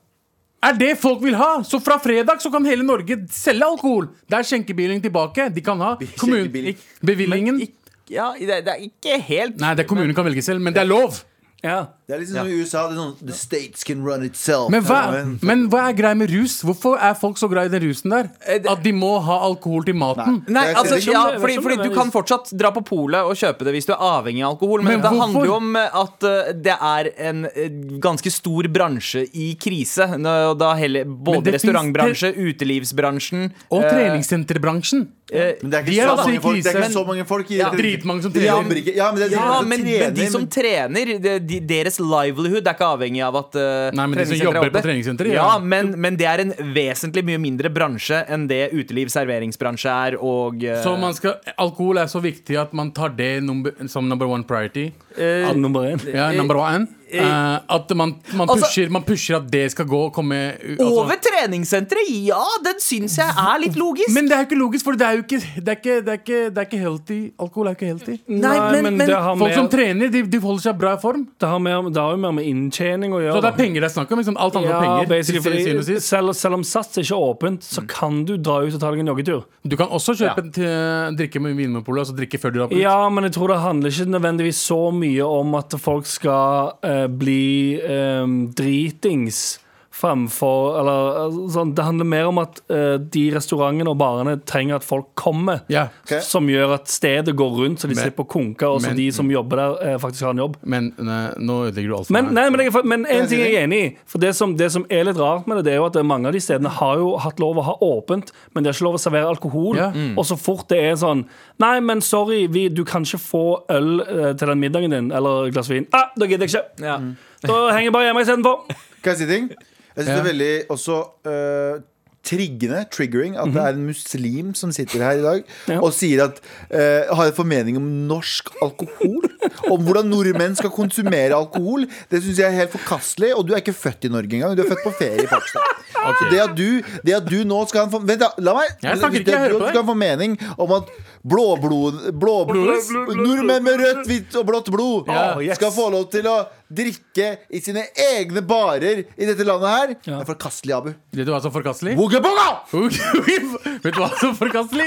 Speaker 3: er det folk vil ha! Så fra fredag så kan hele Norge selge alkohol! Det er skjenkebevilling tilbake. De kan ha
Speaker 4: skjenkebevilling.
Speaker 3: kommunebevilgningen.
Speaker 5: Ja, det, det er ikke helt
Speaker 3: Nei, det er kommunen kan velge selv, men det er lov!
Speaker 2: Ja.
Speaker 4: Det er litt sånn som i USA. Det er sånn The states can run itself.
Speaker 3: Men hva,
Speaker 4: Ja, men-
Speaker 3: men hva er greia med rus? Hvorfor er folk så glad i den rusen der? At de må ha alkohol til maten?
Speaker 5: Nei,
Speaker 4: Jeg ser
Speaker 5: altså,
Speaker 4: det
Speaker 2: som-
Speaker 5: ja,
Speaker 2: det er
Speaker 5: fordi,
Speaker 2: som
Speaker 5: fordi
Speaker 2: det
Speaker 5: du
Speaker 2: er.
Speaker 5: kan fortsatt dra på polet og kjøpe det hvis du er avhengig av alkohol, men,
Speaker 3: Men
Speaker 5: det handler jo
Speaker 3: hvorfor?
Speaker 5: om at eh, det er en eh, ganske stor bransje i krise. Nå- Da heller, både
Speaker 3: det finnes-
Speaker 5: restaurantbransje, utelivsbransjen
Speaker 3: Og
Speaker 5: eh,
Speaker 3: treningssenterbransjen.
Speaker 5: eh,
Speaker 4: Men det er
Speaker 3: De
Speaker 4: ikke,
Speaker 3: er
Speaker 4: så,
Speaker 3: altså
Speaker 4: mange
Speaker 3: i
Speaker 4: folk, det er
Speaker 3: krise,
Speaker 4: ikke så mange folk i
Speaker 3: Ja,
Speaker 4: det-
Speaker 3: dritmange som
Speaker 4: De
Speaker 3: trener.
Speaker 4: jobber ikke. Ja, men det er
Speaker 5: Ja,
Speaker 4: som
Speaker 5: men,
Speaker 4: trener,
Speaker 5: men de som
Speaker 4: men-
Speaker 5: trener, de, de, deres livelihood er ikke avhengig av at eh,
Speaker 3: Nei, men de som
Speaker 5: treningssenteret
Speaker 3: jobber
Speaker 5: er oppe.
Speaker 3: på treningssenteret,
Speaker 5: Ja,
Speaker 3: ja.
Speaker 5: men, men det er en vesentlig mye mindre bransje enn det uteliv, serveringsbransje er, og eh,
Speaker 3: Så man skal, alkohol er så viktig at man tar det number, som number one priority.
Speaker 2: Ja, nummer én.
Speaker 3: Ja, number one. Eh, at man, man,
Speaker 5: Altså-
Speaker 3: pusher, man pusher at det skal gå og komme altså.
Speaker 5: Over treningssenteret? Ja, den syns jeg er litt logisk.
Speaker 3: Men det er jo ikke logisk, for det er jo ikke, det er ikke, det er ikke, det er ikke healthy. Alkohol er jo ikke healthy.
Speaker 2: Nei, men,
Speaker 5: men-
Speaker 2: det har
Speaker 3: Folk som
Speaker 2: mer-
Speaker 3: trener, de, de holder seg bra i form.
Speaker 2: det har mer- det har jo mer med inntjening å gjøre.
Speaker 3: Så det
Speaker 2: da.
Speaker 3: er penger det er snakk om. Liksom. Alt handler om
Speaker 2: Ja,
Speaker 3: penger.
Speaker 2: basically,
Speaker 3: til syvende og
Speaker 2: fordi
Speaker 3: sist.
Speaker 2: selv, selv om Sats ikke er åpent, så kan du dra ut og ta deg en joggetur.
Speaker 3: Du kan også kjøpe en til- eh, drikke med Vinmonopolet, altså drikke før du drar på.
Speaker 2: Ja, men jeg tror det handler ikke nødvendigvis så mye om at folk skal eh, bli eh, dritings fremfor Eller eh, sånn. Det handler mer om at eh, de restaurantene og barene trenger at folk kommer.
Speaker 3: Ja.
Speaker 4: Ok.
Speaker 2: Som gjør at stedet går rundt, så de
Speaker 3: Men-
Speaker 2: slipper å konke, og så
Speaker 3: men-
Speaker 2: de som jobber der, eh, faktisk har en jobb.
Speaker 3: Men nei, nå ødelegger du alt for
Speaker 2: Men, nei,
Speaker 3: meg.
Speaker 2: men, jeg, er for- men en
Speaker 4: Jeg
Speaker 2: ting jeg
Speaker 4: sier
Speaker 2: er enig i. For det som, det som er litt rart med det, det er jo at mange av de stedene har jo hatt lov å ha åpent, men de har ikke lov å servere alkohol.
Speaker 3: Ja. Mm.
Speaker 2: Og så fort det er sånn Nei, men sorry, vi, du kan ikke få øl eh, til den middagen din, eller et glass vin. Ah, da gidder jeg ikke.
Speaker 5: Ja.
Speaker 4: Mm.
Speaker 2: Da henger jeg bare hjemme istedenfor.
Speaker 4: Kan jeg si ting? Jeg synes det er veldig også øh, triggende, triggering, at
Speaker 3: Mhm.
Speaker 4: det er en muslim som sitter her i dag
Speaker 2: Ja.
Speaker 4: og sier at øh, har en formening om norsk alkohol. om hvordan nordmenn skal konsumere alkohol. Det syns jeg er helt forkastelig. Og du er ikke født i Norge engang. Du er født på ferie i Pakistan. Så det at, du, det at du nå skal ha en for- Vent, da. La meg.
Speaker 3: Jeg snakker ikke, jeg
Speaker 4: Det at
Speaker 3: hører
Speaker 4: du
Speaker 3: på deg.
Speaker 4: skal ha en formening om at blåblod blåblods Nordmenn med rødt, hvitt og blått blod Ah,
Speaker 2: Ja. Å, yes.
Speaker 4: skal få lov til å drikke i sine egne barer i dette landet her. Det
Speaker 2: Ja.
Speaker 4: er forkastelig, Abu.
Speaker 3: Vet du hva som er forkastelig?
Speaker 4: Wooga booga!
Speaker 3: Vet du hva som er forkastelig?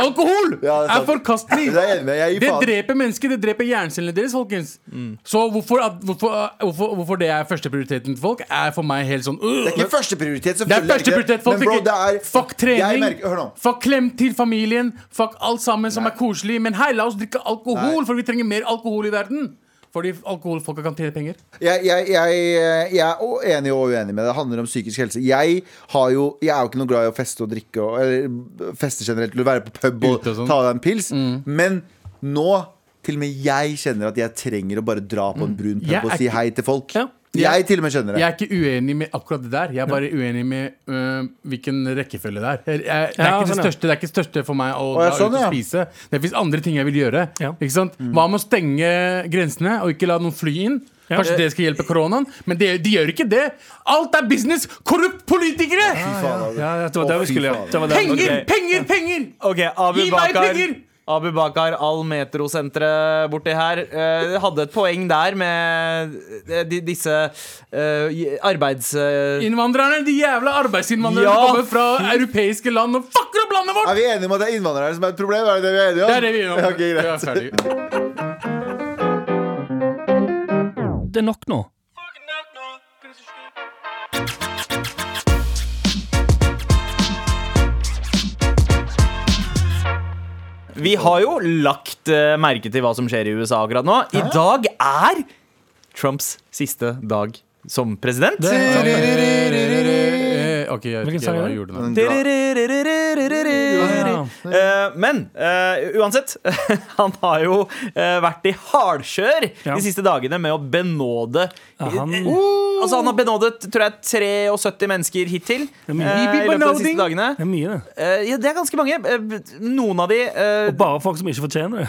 Speaker 3: Alkohol
Speaker 4: Ja, det er
Speaker 3: er,
Speaker 4: sant.
Speaker 3: forkastelig!
Speaker 4: Det er jeg enig med. Jeg gir
Speaker 3: det
Speaker 4: faen.
Speaker 3: dreper mennesker, det dreper hjernecellene deres, folkens.
Speaker 2: Mm.
Speaker 3: Så hvorfor, at- hvorfor, hvorfor, hvorfor det er førsteprioriteten til folk, er for meg helt sånn øh.
Speaker 4: Det er ikke førsteprioritet.
Speaker 3: Det er
Speaker 4: selvfølgelig
Speaker 3: første prioritet. Folk
Speaker 4: Men bro,
Speaker 3: tenker,
Speaker 4: det er
Speaker 3: Fuck
Speaker 4: Jeg
Speaker 3: trening.
Speaker 4: merker, hør nå.
Speaker 3: fuck klem til familien. Fuck alt sammen som er koselig. Men hei, la oss drikke alkohol, for vi trenger mer alkohol i verden. Fordi alkoholfolka kan tjene penger.
Speaker 4: jeg, jeg, jeg, jeg er o- enig og uenig med det. Det handler om psykisk helse. Jeg, har jo, jeg er jo ikke noe glad i å feste og drikke, og, eller feste generelt, eller være på pub og
Speaker 3: Ute og sånn.
Speaker 4: ta deg en pils. Men nå, til og med jeg kjenner at jeg trenger å bare dra på en brun pub
Speaker 3: Mm. Jeg
Speaker 4: og
Speaker 3: er
Speaker 4: si
Speaker 3: ikke-
Speaker 4: hei til folk.
Speaker 2: Ja.
Speaker 4: Jeg til og med skjønner det.
Speaker 3: Jeg er ikke uenig med akkurat det der. Jeg er bare uenig med øh, hvilken rekkefølge det er. Jeg, jeg, det, er
Speaker 2: Ja, sånn, ja.
Speaker 3: ikke det, største, det er ikke det største for meg å
Speaker 4: ja,
Speaker 3: dra
Speaker 4: sånn,
Speaker 3: ut og
Speaker 4: ja. Mm.
Speaker 3: spise. Det fins andre ting jeg vil gjøre.
Speaker 2: Ja.
Speaker 3: Ikke sant? Hva med å stenge grensene og ikke la noen fly inn?
Speaker 2: Ja.
Speaker 3: Kanskje det skal hjelpe koronaen, men det, de gjør ikke det. Alt er business! Korrupt politikere!
Speaker 4: Fy faen, altså. Abu.
Speaker 2: Ja, det var
Speaker 4: Å,
Speaker 2: det vi
Speaker 4: fy
Speaker 2: skulle
Speaker 4: faen.
Speaker 2: gjøre. Det var det.
Speaker 3: Penger,
Speaker 2: Ok.
Speaker 3: penger, penger!
Speaker 5: Ok, Abu
Speaker 3: Gi meg
Speaker 5: Bakar,
Speaker 3: penger!
Speaker 5: Abu Bakar Al Metrosenteret borti her eh, hadde et poeng der med eh, de, disse eh, i- arbeids... eh,
Speaker 3: Innvandrerne, de jævla arbeidsinnvandrerne
Speaker 5: Ja,
Speaker 3: som kommer fra europeiske land og fucker opp landet vårt!
Speaker 4: Er vi enige om at det er innvandrere som er et problem? Er det det vi er enige om?
Speaker 3: Det er det vi gjør. nå.
Speaker 4: Ja, ok, greit.
Speaker 3: Vi er ferdig.
Speaker 2: Det er nok nå.
Speaker 5: Vi har jo lagt eh, merke til hva som skjer i USA akkurat nå. I dag er Trumps siste dag som president.
Speaker 3: Eh, Ok, jeg vet
Speaker 2: Hvilken
Speaker 3: ikke
Speaker 2: sang
Speaker 3: hva
Speaker 2: er
Speaker 3: jeg
Speaker 2: det?
Speaker 3: gjorde nå.
Speaker 5: Wow. Eh, Men eh, uansett, han har jo eh, vært i hardkjør
Speaker 2: Ja.
Speaker 5: de siste dagene med å benåde
Speaker 2: Ja, han-
Speaker 5: Eh, Altså Han har benådet tror jeg 73 mennesker hittil. eh,
Speaker 2: mye.
Speaker 5: I løpet av de siste dagene
Speaker 2: Det er mye, det.
Speaker 5: Eh, Ja, Det er ganske mange. Eh, Noen av de eh,
Speaker 2: Og bare folk som ikke fortjener det.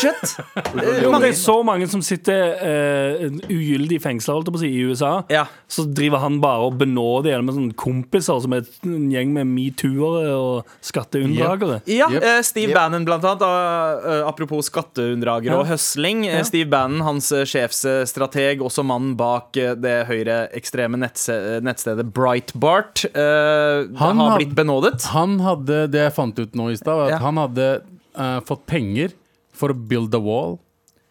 Speaker 5: sett. Eh,
Speaker 2: Jo, men det
Speaker 5: mange.
Speaker 2: er så mange som sitter eh, ugyldig fengsla holdt jeg på å si, i USA.
Speaker 5: Ja.
Speaker 2: Så driver han bare og benåder igjen med sånne kompiser som er en gjeng med metoo-ere og skatteunndragere.
Speaker 5: Ja,
Speaker 3: Yep.
Speaker 5: eh, Steve
Speaker 4: Yep.
Speaker 5: Bannon blant annet eh, eh, Apropos skatteunndragere og høsling eh, Steve Bannon, hans eh, sjefsstrateg Også mannen bak eh, det høyreekstreme nettse- nettstedet Breitbart eh,
Speaker 3: Han
Speaker 5: Har
Speaker 3: har-
Speaker 5: blitt benådet
Speaker 3: Han hadde, det jeg fant ut nå i stad, var at
Speaker 5: Ja.
Speaker 3: han hadde eh, fått penger for å build a wall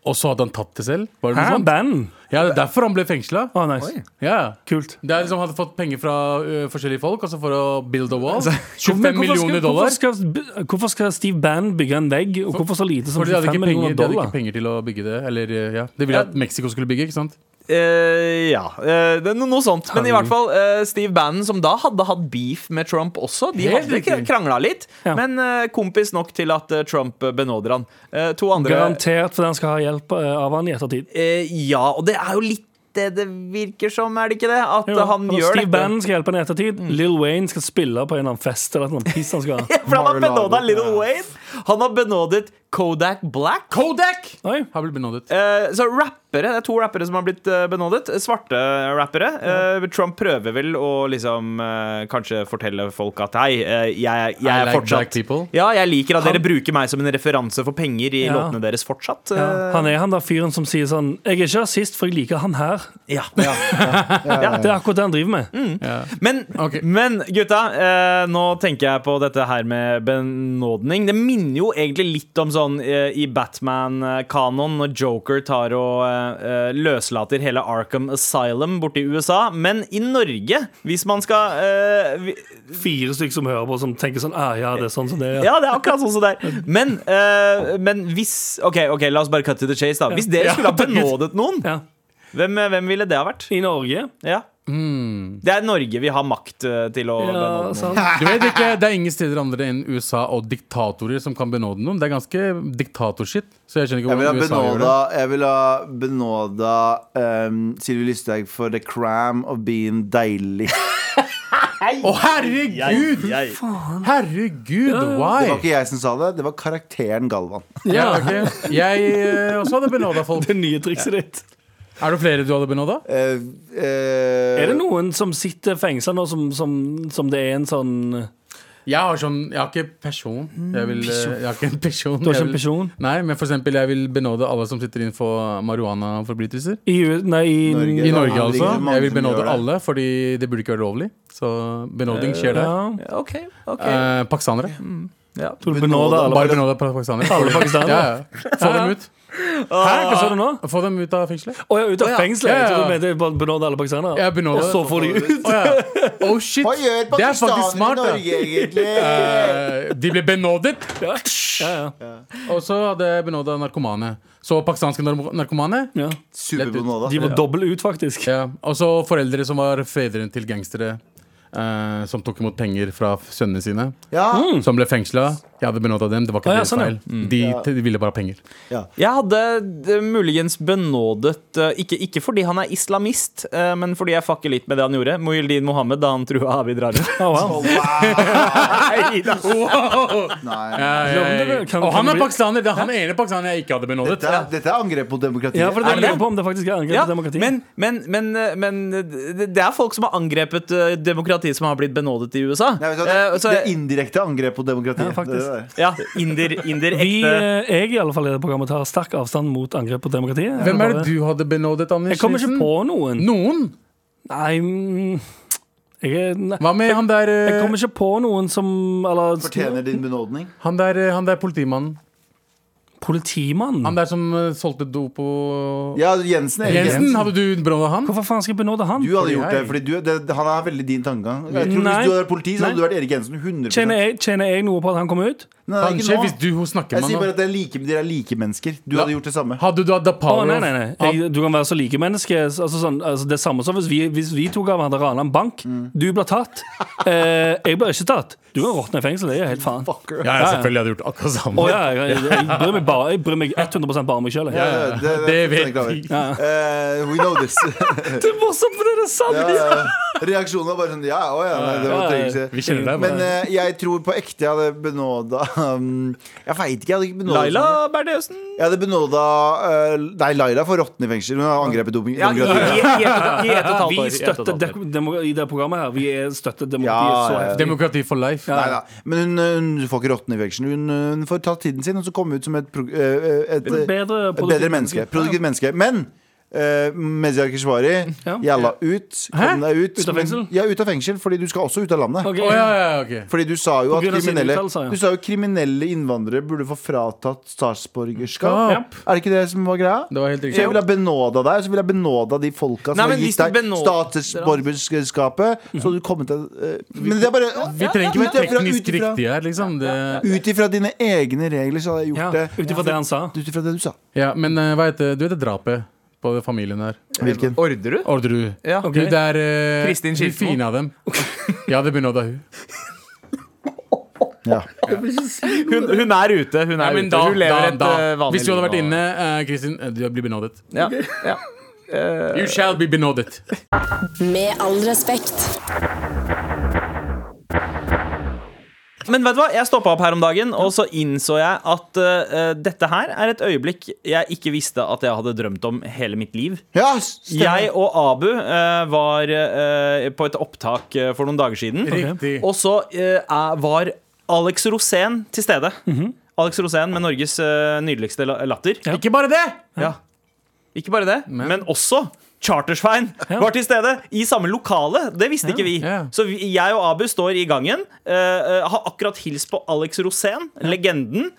Speaker 3: Og så hadde han tatt det selv? Var
Speaker 2: Hæ?
Speaker 3: det noe sånt?
Speaker 2: sånn Band?
Speaker 3: Ja, det er derfor han ble fengsla.
Speaker 2: Å, nice.
Speaker 3: Ja.
Speaker 2: Kult.
Speaker 3: Det er liksom han hadde fått penger fra ø, forskjellige folk, altså for å build a wall.
Speaker 2: Men
Speaker 3: 25 millioner dollar.
Speaker 2: hvorfor skal, hvorfor, skal, hvorfor skal Steve Band bygge en vegg, og hvorfor så lite som
Speaker 3: Fordi de
Speaker 2: 25
Speaker 3: hadde, ikke penger,
Speaker 2: millioner
Speaker 3: de hadde
Speaker 2: dollar?
Speaker 3: ikke penger til å bygge det. Eller, ø, ja. De ville
Speaker 5: Ja.
Speaker 3: at Mexico skulle bygge, ikke sant?
Speaker 5: Eh, ja, eh, det er no- noe sånt. Men i hvert
Speaker 2: Herregud.
Speaker 5: fall eh, Steve Bannon, som da hadde hatt beef med Trump også, de
Speaker 3: Helt
Speaker 5: hadde
Speaker 3: riktig.
Speaker 5: krangla litt,
Speaker 2: Ja.
Speaker 5: men eh, kompis nok til at eh, Trump eh, benåder han. Eh, to andre
Speaker 2: Garantert fordi han skal ha hjelp eh, av han i ettertid.
Speaker 5: Eh, Ja, og det er jo litt det det virker som, er det ikke det? At
Speaker 2: Jo,
Speaker 5: eh, han
Speaker 2: og
Speaker 5: gjør
Speaker 2: Steve
Speaker 5: dette.
Speaker 2: Bannon skal hjelpe han i ettertid. Lil Wayne skal spille på en eller annen fest eller noe piss han skal ha.
Speaker 5: For han har
Speaker 4: Mar-a-Lago.
Speaker 5: benåda Little Wayne. Han har benådet Kodak Black.
Speaker 3: Kodak!
Speaker 2: Oi.
Speaker 3: Har blitt benådet.
Speaker 5: Eh, så rappere, Det er to rappere som har blitt eh, benådet. Svarte rappere. Eh, Trump prøver vel å liksom eh, kanskje fortelle folk at hei, eh, jeg,
Speaker 3: I
Speaker 5: jeg er
Speaker 3: like black
Speaker 5: fortsatt
Speaker 3: people.
Speaker 5: Ja, jeg liker at
Speaker 2: Han-
Speaker 5: dere bruker meg som en referanse for penger i
Speaker 2: Ja.
Speaker 5: låtene deres fortsatt.
Speaker 2: Ja.
Speaker 5: Eh,
Speaker 2: Han er han der fyren som sier sånn Jeg er ikke rasist, for jeg liker han her.
Speaker 5: ja.
Speaker 2: Det er akkurat det han driver med.
Speaker 5: Men,
Speaker 3: Ok.
Speaker 5: men gutta, eh, nå tenker jeg på dette her med benådning. Det minner jo egentlig litt om sånn eh, i Batman-kanoen, når Joker tar og eh, eh, løslater hele Arkham Asylum borti USA. Men i Norge, hvis man skal eh, vi,
Speaker 2: Fire stykker som hører på, som tenker sånn ah, Ja, det er sånn som det er.
Speaker 5: Ja, det er akkurat sånn som det er. Men, eh, men hvis OK, ok, la oss bare cut to the chase, da. Hvis dere skulle ha benådet noen,
Speaker 2: Ja.
Speaker 5: hvem, eh, hvem ville det ha vært?
Speaker 2: I Norge.
Speaker 5: Ja. Det er Norge vi har makt eh, til å
Speaker 2: Ja, altså,
Speaker 5: benåde noen.
Speaker 2: sant.
Speaker 3: Du vet ikke, Det er ingen steder andre enn USA og diktatorer som kan benåde noen. Det er ganske diktatorshit. Så jeg skjønner ikke
Speaker 4: Jeg vil ha
Speaker 3: hvordan USA gjør det.
Speaker 4: benåda, jeg vil ha benåda ehm, Sylvi Lysthaug for the cram of being deilig.
Speaker 3: Å, herregud! Herregud,
Speaker 4: Det var
Speaker 3: why?
Speaker 4: ikke jeg som sa det, det var karakteren Galvan.
Speaker 3: Ja, ok. Jeg ø, også hadde benåda folk.
Speaker 2: Det nye trikset ditt.
Speaker 3: Er det flere du hadde benåda?
Speaker 4: Eh, eh,
Speaker 2: Er det noen som sitter fengsla nå, som, som, som det er en sånn
Speaker 3: Jeg har sånn Jeg har ikke person. Jeg, vil, eh, jeg har ikke en person.
Speaker 2: Du har ikke
Speaker 3: Jeg
Speaker 2: en
Speaker 3: vil-
Speaker 2: person?
Speaker 3: Nei, men for eksempel, jeg vil benåde alle som sitter innenfor marihuanaforbrytelser.
Speaker 2: I, U- nei, i
Speaker 4: Norge.
Speaker 3: I
Speaker 4: Ja,
Speaker 3: Norge,
Speaker 4: det er ikke så
Speaker 3: altså.
Speaker 4: mange
Speaker 3: Jeg vil
Speaker 4: som gjør
Speaker 3: benåde
Speaker 4: det.
Speaker 3: alle, fordi det burde ikke være ulovlig. Så benåding skjer der.
Speaker 2: Eh, Ja.
Speaker 5: OK. ok
Speaker 3: Eh, pakistanere.
Speaker 5: ja.
Speaker 2: Tror du benåder alle
Speaker 3: Bare benåde pa- pakistanere.
Speaker 2: Alle pakistanere?
Speaker 3: Ja, ja. Få dem ut.
Speaker 2: Hæ, hva sa du nå?
Speaker 3: Få dem ut av fengselet.
Speaker 2: Å ja, ut av fengselet?
Speaker 3: Ja, ja.
Speaker 2: Jeg tror du mente bare benåde alle pakistanere.
Speaker 3: Jeg benåder.
Speaker 2: Og så får de ut.
Speaker 3: Å, ja. Oh shit!
Speaker 4: Hva gjør
Speaker 3: Det er faktisk
Speaker 4: pakistanere i
Speaker 3: smart, da.
Speaker 4: Norge, egentlig?
Speaker 3: Eh, de ble benådet.
Speaker 2: Ja. Ja, ja.
Speaker 3: Og så hadde jeg benåda narkomane. Så pakistanske narko- narkomane
Speaker 2: Ja.
Speaker 4: Superbenåda.
Speaker 2: De må doble ut, faktisk.
Speaker 3: Ja, og så foreldre som var fedrene til gangstere. eh, som tok imot penger fra f- sønnene sine.
Speaker 4: Ja,
Speaker 3: Som ble fengsla. Jeg hadde benåda dem. Det var
Speaker 2: Ah,
Speaker 3: ikke
Speaker 2: Hmm. ja,
Speaker 3: deres
Speaker 2: sånn, ja.
Speaker 3: feil. De, de ville bare ha penger.
Speaker 5: Jeg hadde eh, muligens benådet eh, ikke, ikke fordi han er islamist, eh, men fordi jeg fucker litt med det han gjorde. Muhyldin Mohammed da han trua Abid Raja.
Speaker 2: Å, wow.
Speaker 5: Nei da.
Speaker 4: Nei.
Speaker 3: Ja, ja, ja, ja.
Speaker 2: Kan- kan
Speaker 3: Og han
Speaker 2: det
Speaker 3: er
Speaker 2: bli-
Speaker 3: pakistaner! Det er han ene pakistaneren jeg ikke hadde benådet.
Speaker 4: Dette, er- dette er angrep mot demokratiet.
Speaker 2: Ja, for det
Speaker 5: Er det
Speaker 2: lurer
Speaker 5: det?
Speaker 2: på om det faktisk er angrep
Speaker 5: Ja,
Speaker 2: på demokrati.
Speaker 5: men, men, men, eh, men det det er folk som har angrepet eh, demokratiet som har blitt benådet i USA.
Speaker 4: Nei, vet du hva, det,
Speaker 5: Eh, så
Speaker 4: det er
Speaker 5: jeg-
Speaker 4: indirekte angrep mot
Speaker 2: Ja,
Speaker 4: demokratiet.
Speaker 2: faktisk.
Speaker 4: Det er det der.
Speaker 5: ja, inder, inder
Speaker 2: vi, eh,
Speaker 5: ekte
Speaker 2: jeg i alle fall i det programmet tar sterk avstand mot angrep på demokratiet.
Speaker 3: Hvem er det
Speaker 2: Bare-
Speaker 3: du hadde benådet, Anders?
Speaker 2: Jeg kommer ikke
Speaker 3: Nilsen?
Speaker 2: på noen.
Speaker 3: Noen?
Speaker 2: Nei, mm, jeg, er- nei.
Speaker 3: Hva med han der, eh,
Speaker 2: jeg kommer ikke på noen som Eller
Speaker 4: Fortjener din benådning.
Speaker 3: han der, eh, han der politimannen? Han
Speaker 2: politimannen.
Speaker 3: der som eh, solgte dop og
Speaker 4: Ja, Jensen. Erik
Speaker 3: Jensen, hadde du benåda han?
Speaker 2: Hvorfor faen skal jeg benåde han?
Speaker 4: Du hadde gjort det,
Speaker 3: jeg-
Speaker 4: fordi du, det, han er veldig din tankegang. Jeg tror
Speaker 2: Nei.
Speaker 4: Hvis du hadde vært politi, så
Speaker 2: Nei.
Speaker 4: hadde du vært Erik Jensen 100
Speaker 2: Tjener jeg, tjener jeg noe på at han kom ut?
Speaker 4: Nei, nei,
Speaker 3: Kanskje,
Speaker 4: ikke nå.
Speaker 3: hvis du snakker
Speaker 4: Jeg
Speaker 3: med
Speaker 4: sier bare
Speaker 3: han.
Speaker 4: at det er like, dere er likemennesker. Du hadde gjort det samme.
Speaker 3: Hadde du hatt the
Speaker 2: Å,
Speaker 3: power
Speaker 2: nei, nei,
Speaker 3: of-
Speaker 2: nei. Jeg, du kan være så like menneske. Altså, sånn, altså, det er samme som hvis vi, hvis vi to ganger hadde rana en bank. Du blir tatt. Eh, jeg blir ikke tatt. Du kan råtne i fengsel. Det gir helt faen.
Speaker 4: Fucker.
Speaker 3: Ja, ja, selvfølgelig hadde jeg gjort akkurat samme.
Speaker 2: Å, ja, jeg, jeg, jeg, bryr meg bare, jeg bryr meg 100 bare om meg sjøl.
Speaker 4: Ja,
Speaker 2: Det
Speaker 4: ja, det, det,
Speaker 3: Det
Speaker 4: det
Speaker 3: vet
Speaker 4: vet vi.
Speaker 3: vi.
Speaker 4: we know this.
Speaker 2: er morsomt, for det er sant!
Speaker 4: ja, ja. Reaksjonen var bare sånn Ja, å ja, nei, det var trengelse.
Speaker 3: Vi kjenner deg
Speaker 4: Men
Speaker 3: bare.
Speaker 4: eh, jeg tror på ekte jeg hadde benåda um, Jeg veit ikke. Jeg hadde ikke benåda
Speaker 5: Laila Bertheussen.
Speaker 4: Jeg hadde benåda eh, Nei, Laila får råtne i fengsel. Hun har angrepet doping.
Speaker 5: Ja, i, i,
Speaker 4: demokratiet.
Speaker 5: i, et- I et og et halvt år. i
Speaker 2: Vi
Speaker 5: et og et halvt
Speaker 2: støtter
Speaker 5: år.
Speaker 2: demo- demo- i det programmet her. Vi er- støtter
Speaker 4: Ja,
Speaker 2: demokratiet så
Speaker 4: ja, ja.
Speaker 2: heftig.
Speaker 3: Demokrati for life.
Speaker 4: Nei, nei. Men hun, hun får ikke råtne i fengsel. Hun, hun får tatt tiden sin og så komme ut som et, pro- eh, eh, et,
Speaker 2: Et bedre
Speaker 4: et
Speaker 2: produktivt
Speaker 4: bedre menneske. Produktivt menneske. Men eh, Meziyar Keshvari.
Speaker 2: Ja.
Speaker 4: Jalla ut. Kom deg ut.
Speaker 2: Ut av
Speaker 4: Men-
Speaker 2: fengsel?
Speaker 4: Ja, ut av fengsel, fordi du skal også ut av landet.
Speaker 2: Ok.
Speaker 3: Å ja, ja, ja, ok.
Speaker 4: Fordi du sa jo
Speaker 2: På
Speaker 4: at
Speaker 2: grunn av sine
Speaker 4: kriminelle,
Speaker 2: uttalelser, ja.
Speaker 4: du sa jo kriminelle innvandrere burde få fratatt statsborgerskap.
Speaker 2: Ja.
Speaker 4: Er det ikke det som var greia?
Speaker 3: Det var helt
Speaker 4: Så jeg
Speaker 3: riktig.
Speaker 4: ville ha benåda deg, så ville jeg benåda de folka som
Speaker 5: Nei,
Speaker 4: har
Speaker 5: men hvis
Speaker 4: gitt
Speaker 5: du
Speaker 4: deg
Speaker 5: benåder-
Speaker 4: statsborgerskapet. Så hadde du kommet til eh, Men det er bare
Speaker 3: Vi trenger ikke
Speaker 4: Ut
Speaker 3: være
Speaker 4: ifra-
Speaker 3: teknisk
Speaker 4: ut ifra-
Speaker 3: riktige her, liksom. Det
Speaker 4: Ut ifra dine egne regler så hadde jeg
Speaker 2: Ja,
Speaker 4: gjort
Speaker 2: Ut ifra det han sa.
Speaker 4: det. Ut ifra det du sa.
Speaker 3: Ja, men eh, hva heter Du heter drapet på den familien her.
Speaker 4: Hvilken?
Speaker 5: Orderud?
Speaker 3: Orderud.
Speaker 5: Ja.
Speaker 2: Ok.
Speaker 3: Du, det er eh,
Speaker 5: Kristin
Speaker 3: de
Speaker 5: Skilsmo.
Speaker 3: fine av dem. Ja, det begynner å da hun.
Speaker 4: Ja.
Speaker 5: Hun, hun er ute. Hun er
Speaker 3: Nei, men
Speaker 5: ute.
Speaker 3: da,
Speaker 5: hun lever
Speaker 3: da,
Speaker 5: et
Speaker 3: da.
Speaker 5: eh, vanlig
Speaker 3: Hvis du hadde
Speaker 5: liv
Speaker 3: vært
Speaker 5: nå.
Speaker 3: inne, eh, Kristin, eh, du blir benådet.
Speaker 5: Ja, ja.
Speaker 3: You shall be benådet.
Speaker 1: Med all respekt.
Speaker 5: Men vet du hva, jeg stoppa opp her om dagen, og så innså jeg at eh, dette her er et øyeblikk jeg ikke visste at jeg hadde drømt om hele mitt liv.
Speaker 4: ja stemmer.
Speaker 5: Jeg og Abu eh, var eh, på et opptak eh, for noen dager siden.
Speaker 3: Riktig.
Speaker 5: Og så eh, er- var Alex Rosén til stede. Alex Rosén med Norges eh, nydeligste la- latter.
Speaker 2: Ja.
Speaker 3: Ikke bare det!
Speaker 5: Ja. Ikke bare det, men,
Speaker 3: Men-
Speaker 5: også Chartersvein
Speaker 2: Ja.
Speaker 5: var til stede i samme lokale. Det visste ikke vi.
Speaker 3: ja.
Speaker 5: Så vi, jeg og Abu står i gangen, eh, eh, har akkurat hilst på Alex Rosén, legenden.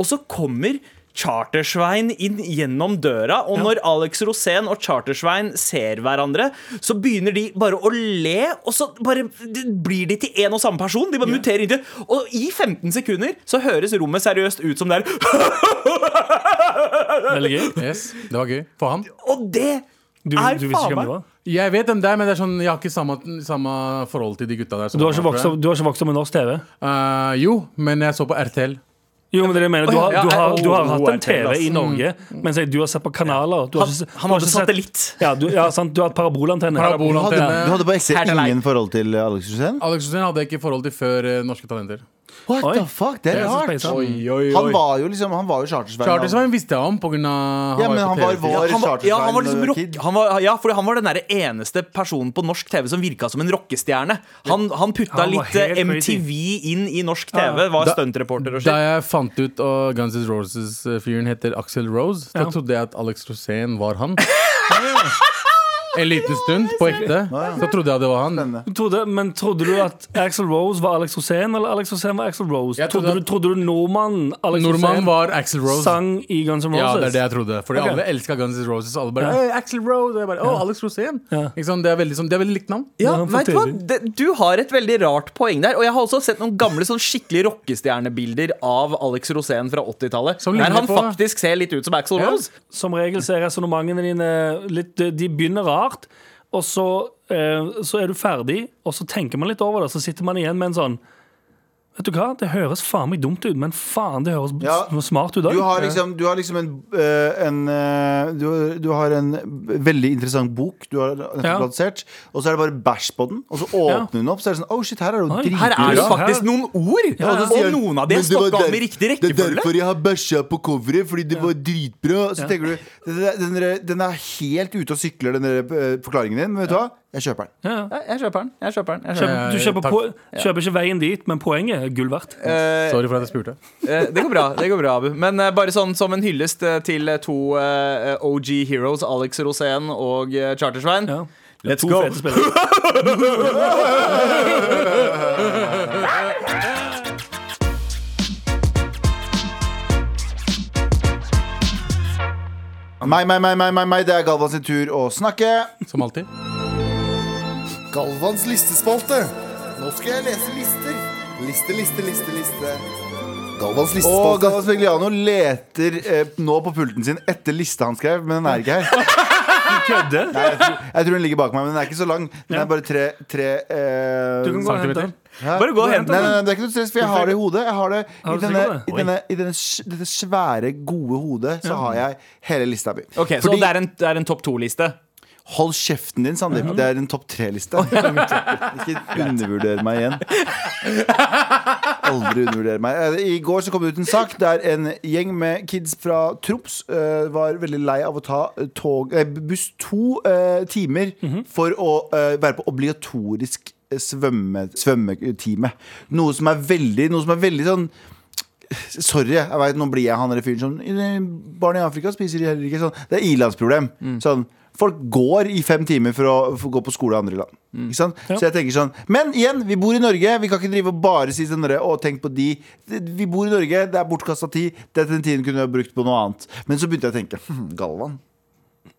Speaker 5: Og så kommer Chartersvein inn gjennom døra, og når Alex Rosén og Chartersvein ser hverandre, så begynner de bare å le, og så bare blir de til én og samme person. De bare muterer inntil Og i 15 sekunder så høres rommet seriøst ut som det er
Speaker 2: Veldig gøy.
Speaker 3: Yes, Det var gøy. For han.
Speaker 5: Og det
Speaker 2: Du,
Speaker 5: er
Speaker 2: du visste
Speaker 5: faen
Speaker 2: ikke hvem
Speaker 5: meg
Speaker 2: det var?
Speaker 3: Jeg vet hvem det er, men det er sånn, jeg har ikke samme, samme forhold til de gutta der. som
Speaker 2: Du har ikke
Speaker 3: var
Speaker 2: vokst
Speaker 3: fra-
Speaker 2: opp, du har ikke vokst opp med norsk TV?
Speaker 3: Eh, jo, men jeg så på RTL.
Speaker 2: Jo, men det er det jeg mener, du har,
Speaker 5: Ja,
Speaker 2: du har, du har
Speaker 5: oh,
Speaker 2: hatt en
Speaker 5: er til,
Speaker 2: TV i
Speaker 5: ass.
Speaker 2: Norge, mens jeg- du har sett på kanaler. Du
Speaker 5: Han,
Speaker 2: ikke s-
Speaker 5: han
Speaker 2: du
Speaker 5: hadde
Speaker 2: ikke sett-
Speaker 5: satellitt.
Speaker 2: Ja, du, ja, sant, du har hatt parabolantenne.
Speaker 4: du, hadde, du
Speaker 3: Parabolantenne.
Speaker 4: hadde på ekte
Speaker 5: Her til deg.
Speaker 4: ingen forhold til eh, Alex Rosén?
Speaker 3: Alex Rosén hadde jeg ikke forhold til før eh, Norske Talenter.
Speaker 4: What
Speaker 2: Oi.
Speaker 4: the fuck, det er
Speaker 2: Det er så
Speaker 4: rart!
Speaker 2: speisa.
Speaker 3: oi,
Speaker 4: Han var jo liksom Han var jo chartersveien.
Speaker 3: Chartersveien visste jeg om pga. Han,
Speaker 4: Ja, men han var
Speaker 3: TV.
Speaker 4: vår
Speaker 5: han var, ja, han var liksom
Speaker 4: Chartersveien,
Speaker 5: rock,
Speaker 4: kid.
Speaker 5: han var, ja, fordi han var den der eneste personen på norsk TV som virka som en rockestjerne. Han, han putta
Speaker 2: Han var
Speaker 5: litt eh,
Speaker 2: helt
Speaker 5: MTV inn i norsk TV, var
Speaker 3: Da-
Speaker 5: stuntreporter
Speaker 3: Da
Speaker 5: og shit.
Speaker 3: jeg fant ut at Guns N' Roses-fyren heter Axel Rose, da
Speaker 2: Ja.
Speaker 3: trodde jeg at Alex Rosén var han. En liten stund, på ekte. Så trodde jeg det var han.
Speaker 4: Spennende.
Speaker 2: Du Trodde, men trodde du at Axel Rose var Alex Rosén, eller Alex Rosén var Axel Rose?
Speaker 3: Jeg
Speaker 2: Trodde,
Speaker 3: trodde
Speaker 2: du,
Speaker 3: at-
Speaker 2: trodde du nordmannen Alex
Speaker 3: Nordmannen
Speaker 2: Rosén
Speaker 3: var Axel Rose.
Speaker 2: sang i Guns N' Roses?
Speaker 3: Ja, det er det jeg trodde. Fordi
Speaker 2: Ok.
Speaker 3: alle elska Guns N' Roses. Alle
Speaker 2: Ja.
Speaker 3: bare «Hey, Axel Rose! Og jeg bare, Å, Alex Rosén!
Speaker 2: Ja.
Speaker 3: Ikke sant? Det, er veldig, sånn- det er veldig likt navn.
Speaker 5: Ja,
Speaker 2: Ja, han
Speaker 5: vet Du hva?
Speaker 2: forteller.
Speaker 5: Det- Du har et veldig rart poeng der. Og jeg har også sett noen gamle sånn skikkelig rockestjernebilder av Alex Rosén fra 80-tallet.
Speaker 3: Som
Speaker 5: Der
Speaker 3: ligner
Speaker 5: han
Speaker 3: på-
Speaker 5: faktisk ser litt ut som Axel
Speaker 2: Ja.
Speaker 5: Rose.
Speaker 2: Som regel så er resonnementene dine litt De begynner rart, og så, eh, så er du ferdig, og så tenker man litt over det, så sitter man igjen med en sånn Vet du hva, det høres faen meg dumt ut, men faen, det høres
Speaker 4: Ja.
Speaker 2: s- smart ut
Speaker 4: Du
Speaker 2: òg.
Speaker 4: har liksom, du har liksom en, eh, en eh, du, du har en veldig interessant bok du har nettopp
Speaker 2: Ja.
Speaker 4: lansert, og så er det bare bæsj på den, og så åpner hun opp, så er det sånn Oh shit, her er det jo
Speaker 2: Oi.
Speaker 4: dritmye.
Speaker 5: Her er det
Speaker 2: Ja.
Speaker 5: faktisk noen ord!
Speaker 2: Ja, altså,
Speaker 5: Og
Speaker 2: ja.
Speaker 5: og noen av de er stokka om i riktig rekkefølge.
Speaker 4: jeg har bæsja på coveret, fordi det var dritbra. Så tenker du, den, der- den, der- den er helt ute og sykler, den der, eh, forklaringen din, men vet du hva? Jeg kjøper den.
Speaker 2: Ja.
Speaker 5: Ja, Jeg kjøper den. Jeg kjøper den.
Speaker 4: Eh,
Speaker 5: Jeg kjøper den.
Speaker 2: Kjøper, du kjøper,
Speaker 3: Takk.
Speaker 2: på, kjøper ikke veien dit, men poenget er gull verdt.
Speaker 3: Sorry for at jeg spurte.
Speaker 5: Eh, Det går bra, det går bra, Abu. Men eh, bare sånn som en hyllest eh, til eh, to eh, OG heroes, Alex Rosén og eh, Chartersvein.
Speaker 2: Ja.
Speaker 5: Let's
Speaker 2: To
Speaker 5: go!
Speaker 2: fete spillere.
Speaker 4: Meg, meg, meg, meg, meg, meg, det er Galvan sin tur å snakke.
Speaker 3: Som alltid.
Speaker 6: Galvans listespalte. Nå skal jeg lese lister. Liste, liste, liste, liste. Galvans
Speaker 4: Og
Speaker 6: listespalte.
Speaker 4: Galvan Spegliano leter eh, nå på pulten sin etter lista han skrev, men den er ikke her.
Speaker 2: Kødder?
Speaker 4: Nei, jeg, tror, jeg tror den ligger bak meg, men den er ikke så lang. Den
Speaker 2: Ja.
Speaker 4: er bare tre, tre eh,
Speaker 2: Du kan gå og hente den.
Speaker 4: hæ?
Speaker 5: Bare gå og hent
Speaker 4: Nei, nei,
Speaker 5: den.
Speaker 4: nei, det er ikke noe stress, for jeg har det i hodet. Jeg har det I,
Speaker 2: Har du
Speaker 4: denne,
Speaker 2: sikkert det?
Speaker 4: i, denne, i denne, s- dette svære, gode hodet så har jeg hele lista mi.
Speaker 5: Ok, Så
Speaker 4: Fordi-
Speaker 5: det er en, det er en topp to-liste?
Speaker 4: Hold kjeften din, Sandeep. Det er en topp tre-liste. Ikke undervurder meg igjen. Aldri undervurder meg. Eh, I går så kom det ut en sak der en gjeng med kids fra Troms eh, var veldig lei av å ta tog, eh, buss to eh, timer for å eh, være på eh, obligatorisk svømme, svømmetime. Noe som er veldig, noe som er veldig sånn Sorry, jeg vet, nå blir jeg han der fyren som "Eh, Barn i Afrika spiser heller ikke sånn. Det er ilandsproblem.
Speaker 2: Mm.
Speaker 4: Sånn, folk går i fem timer for å, for å gå på skole i andre land.
Speaker 2: Mm.
Speaker 4: Ikke sant? Så jeg tenker sånn Men igjen, vi bor i Norge. Vi kan ikke drive og bare si sånn derre, Å, tenk på de. Vi bor i Norge. Det er bortkasta tid. Dette den tiden kunne jeg brukt på noe annet. Men så begynte jeg å tenke. Hm, Galvan,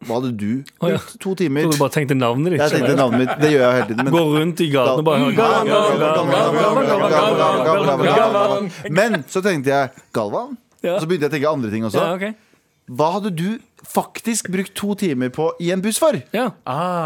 Speaker 4: hva hadde du?
Speaker 2: Å, ja.
Speaker 4: brukt To timer.
Speaker 2: Du bare tenkte navnet ditt.
Speaker 4: Jeg tenkte navnet mitt. Det gjør jeg hele tiden. men-
Speaker 2: Gå rundt i gatene og bare høre
Speaker 4: Galvan,
Speaker 2: Galvan,
Speaker 4: Galvan, Galvan, Galvan, Galvan, Galvan, Galvan. Men så tenkte jeg Galvan?
Speaker 2: Ja.
Speaker 4: Og så begynte jeg å tenke andre ting også.
Speaker 2: Ja, ok.
Speaker 4: Hva hadde du faktisk brukt to timer på i en buss for?
Speaker 2: Ja.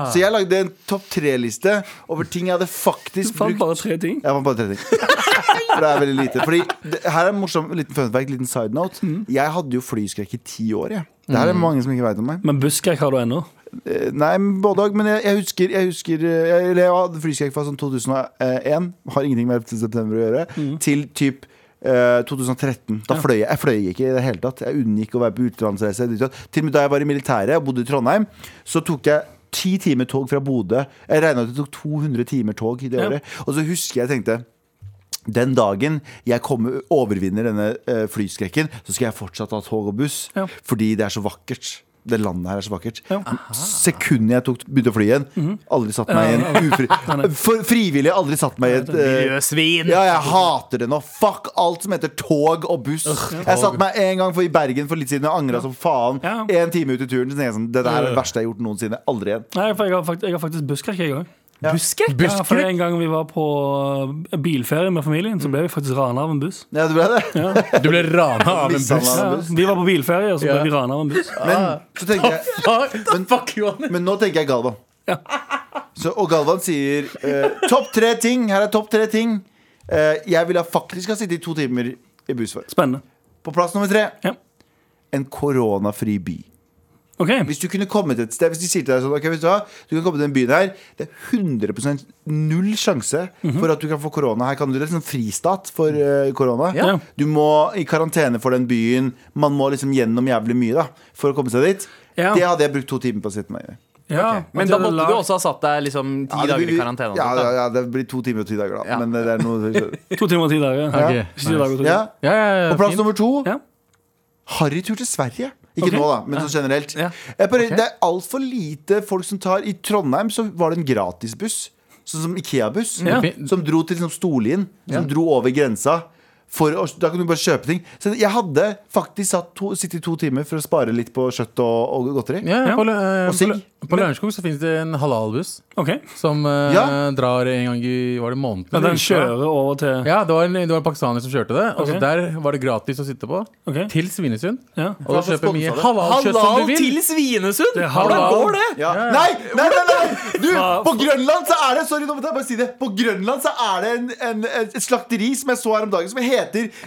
Speaker 4: Så jeg lagde en topp tre-liste over ting jeg hadde
Speaker 2: Du
Speaker 4: faktisk
Speaker 2: fant
Speaker 4: brukt.
Speaker 2: bare tre ting.
Speaker 4: Jeg fant bare tre ting. For det er veldig lite. Fordi det, her er en morsom liten fun fact, liten side note. Jeg hadde jo flyskrekk i ti år, jeg. Det her er mange som ikke veit om meg.
Speaker 2: Men busskrekk har du ennå.
Speaker 4: Eh, Nei, men både òg. Men jeg, jeg husker Jeg, husker, eh, jeg, eller jeg hadde flyskrekk fra sånn 2001, har ingenting med 11. september å gjøre, til typ eh, 2013. Da fløy jeg. Jeg fløy ikke i det hele tatt. Jeg unngikk å være på utenlandsreise. ditt og datt. Til og med da jeg var i militæret og bodde i Trondheim, så tok jeg ti timer tog fra Bodø. Jeg regna ut det tok 200 timer tog i det
Speaker 2: Ja.
Speaker 4: året. Og så husker jeg tenkte den dagen jeg kommer, overvinner denne eh, flyskrekken, så skal jeg fortsatt ha tog og buss.
Speaker 2: Ja.
Speaker 4: Fordi det er så vakkert. Det landet her er så vakkert. Sekundet jeg tok, begynte å fly igjen, aldri satt meg i en ufri... For, frivillig aldri satt meg i et eh,
Speaker 5: Miljøsvin!
Speaker 4: ja, jeg hater det nå. Fuck alt som heter tog og buss. Jeg satt meg en gang for, i Bergen for litt siden og angra som faen.
Speaker 2: Ja.
Speaker 4: En time ut i turen. Så tenkte jeg sånn, det der er det verste jeg har gjort noensinne. Aldri igjen.
Speaker 2: Nei, for jeg har faktisk, jeg har faktisk busskrekk, jeg òg.
Speaker 5: Busskrekk?
Speaker 2: Ja, for en gang vi var på eh, bilferie med familien, så ble vi faktisk rana av en buss.
Speaker 4: Ja, det ble det.
Speaker 3: Du ble rana av en buss.
Speaker 4: Mishandlet av en buss.
Speaker 2: Vi var på bilferie, og så ble vi rana av en buss.
Speaker 4: Men så tenker jeg
Speaker 3: Men fuck you, Anders.
Speaker 4: Men nå tenker jeg Galvan. Så, og Galvan sier eh, topp tre ting. Her er topp tre ting. Eh, jeg ville faktisk ha sittet i to timer i buss for.
Speaker 2: Spennende.
Speaker 4: På plass nummer tre
Speaker 2: Ja.
Speaker 4: en koronafri by.
Speaker 2: OK.
Speaker 4: Hvis du kunne kommet et sted Hvis de sier til deg sånn Ok, vet du hva Du kan komme til den byen her Det er 100% null sjanse
Speaker 2: Mhm.
Speaker 4: For at du kan få korona Her kan du Det er sånn fristat for eh, korona
Speaker 2: Ja.
Speaker 4: Du må i karantene for den byen Man må liksom gjennom jævlig mye da For å komme seg dit
Speaker 2: Ja.
Speaker 4: Det hadde jeg brukt to timer på å sitte meg i
Speaker 2: Ja,
Speaker 5: Men da måtte du også ha satt deg liksom ti
Speaker 4: Ja, det
Speaker 5: dager
Speaker 4: blir-
Speaker 5: i karantene. og
Speaker 4: Ja,
Speaker 5: sånt, da.
Speaker 4: ja, ja, det blir to timer og ti dager, da.
Speaker 5: Ja.
Speaker 4: Men eh, det er noe
Speaker 2: To timer og ti dager.
Speaker 4: Ok,
Speaker 2: Ikke ti dager og to
Speaker 4: ja.
Speaker 2: timer.
Speaker 3: Ja, ja, ja,
Speaker 4: Og plass
Speaker 3: fint.
Speaker 4: nummer to
Speaker 2: Ja.
Speaker 4: harrytur til Sverige. Ikke
Speaker 2: Ok.
Speaker 4: nå, da, men sånn generelt.
Speaker 5: Ja.
Speaker 4: Jeg bare, Det er altfor lite folk som tar I Trondheim så var det en gratisbuss, sånn som Ikea-buss,
Speaker 2: Ja.
Speaker 4: som dro til liksom, Storlien. Som dro over grensa. For, å- da kan du bare kjøpe ting. Så jeg hadde faktisk satt to, sittet i to timer for å spare litt på kjøtt og, og godteri.
Speaker 3: Ja,
Speaker 2: Ja.
Speaker 3: På, lø- eh,
Speaker 4: Og sigg.
Speaker 3: på, lø- på Lørenskog så finnes det en halalbuss
Speaker 2: OK.
Speaker 3: som eh,
Speaker 4: Ja.
Speaker 3: drar en gang i Var det måneden?
Speaker 2: Ja,
Speaker 3: eller
Speaker 2: den
Speaker 3: uka?
Speaker 2: kjører over til
Speaker 3: Ja, det var, en, det var en pakistaner som kjørte det. Og så
Speaker 2: Ok.
Speaker 3: Der var det gratis å sitte på.
Speaker 2: Ok.
Speaker 3: Til Svinesund.
Speaker 2: Ja.
Speaker 3: Og du
Speaker 4: Hva
Speaker 3: kjøper
Speaker 4: slags
Speaker 3: mye
Speaker 4: sponsa det?
Speaker 3: halal-kjøtt som du
Speaker 5: Halal
Speaker 3: vil.
Speaker 5: til Svinesund!
Speaker 2: Det er
Speaker 5: Hvordan
Speaker 2: halal.
Speaker 5: går det?
Speaker 4: Ja. Nei, nei, nei, nei! Du, på Grønland så er det Sorry, nå må jeg bare si det. På Grønland så er det en, en, et slakteri som jeg så her om dagen, som heter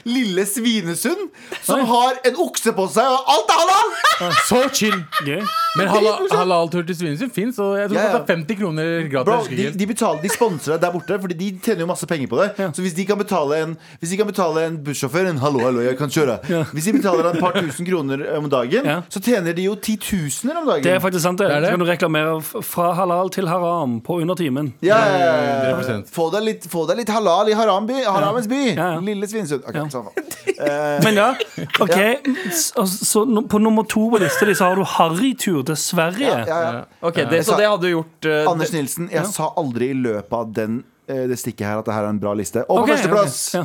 Speaker 4: Lille Svinesund. Som har en okse på seg, og alt er halal!
Speaker 3: Så chill!
Speaker 2: Gøy.
Speaker 3: Men halal, halaltur til Svinesund fins, og jeg tror
Speaker 4: Ja, ja.
Speaker 3: det er 50 kroner gratis.
Speaker 4: Bro,
Speaker 3: jeg husker
Speaker 4: de,
Speaker 3: ikke helt.
Speaker 4: de betaler, de sponser deg der borte, Fordi de tjener jo masse penger på det. Så hvis de kan betale en Hvis de kan betale en bussjåfør en 'hallo, hallo, jeg kan kjøre' Hvis de betaler han et par tusen kroner om dagen,
Speaker 2: Ja.
Speaker 4: så tjener de jo titusener om dagen.
Speaker 2: Det er faktisk sant, det.
Speaker 3: Det er det.
Speaker 2: Så kan du reklamere f- fra halal til haram på under timen.
Speaker 4: ja, ja, ja, ja.
Speaker 3: 100%.
Speaker 4: Få deg litt, få deg litt halal i Haramby, Haramens by.
Speaker 2: Ja, ja.
Speaker 4: Lille Svinesund. Ok, samme faen.
Speaker 2: Men ja, OK. Så, så no- på nummer to på lista di så har du harrytur til Sverige.
Speaker 4: ja, ja.
Speaker 5: Ok, det,
Speaker 4: sa-
Speaker 5: Så det hadde du gjort eh,
Speaker 4: Anders Nilsen, jeg sa aldri i løpet av den, eh, det stikket her at det her er en bra liste. Og på
Speaker 2: Ok, ok,
Speaker 4: førsteplass!
Speaker 2: ja.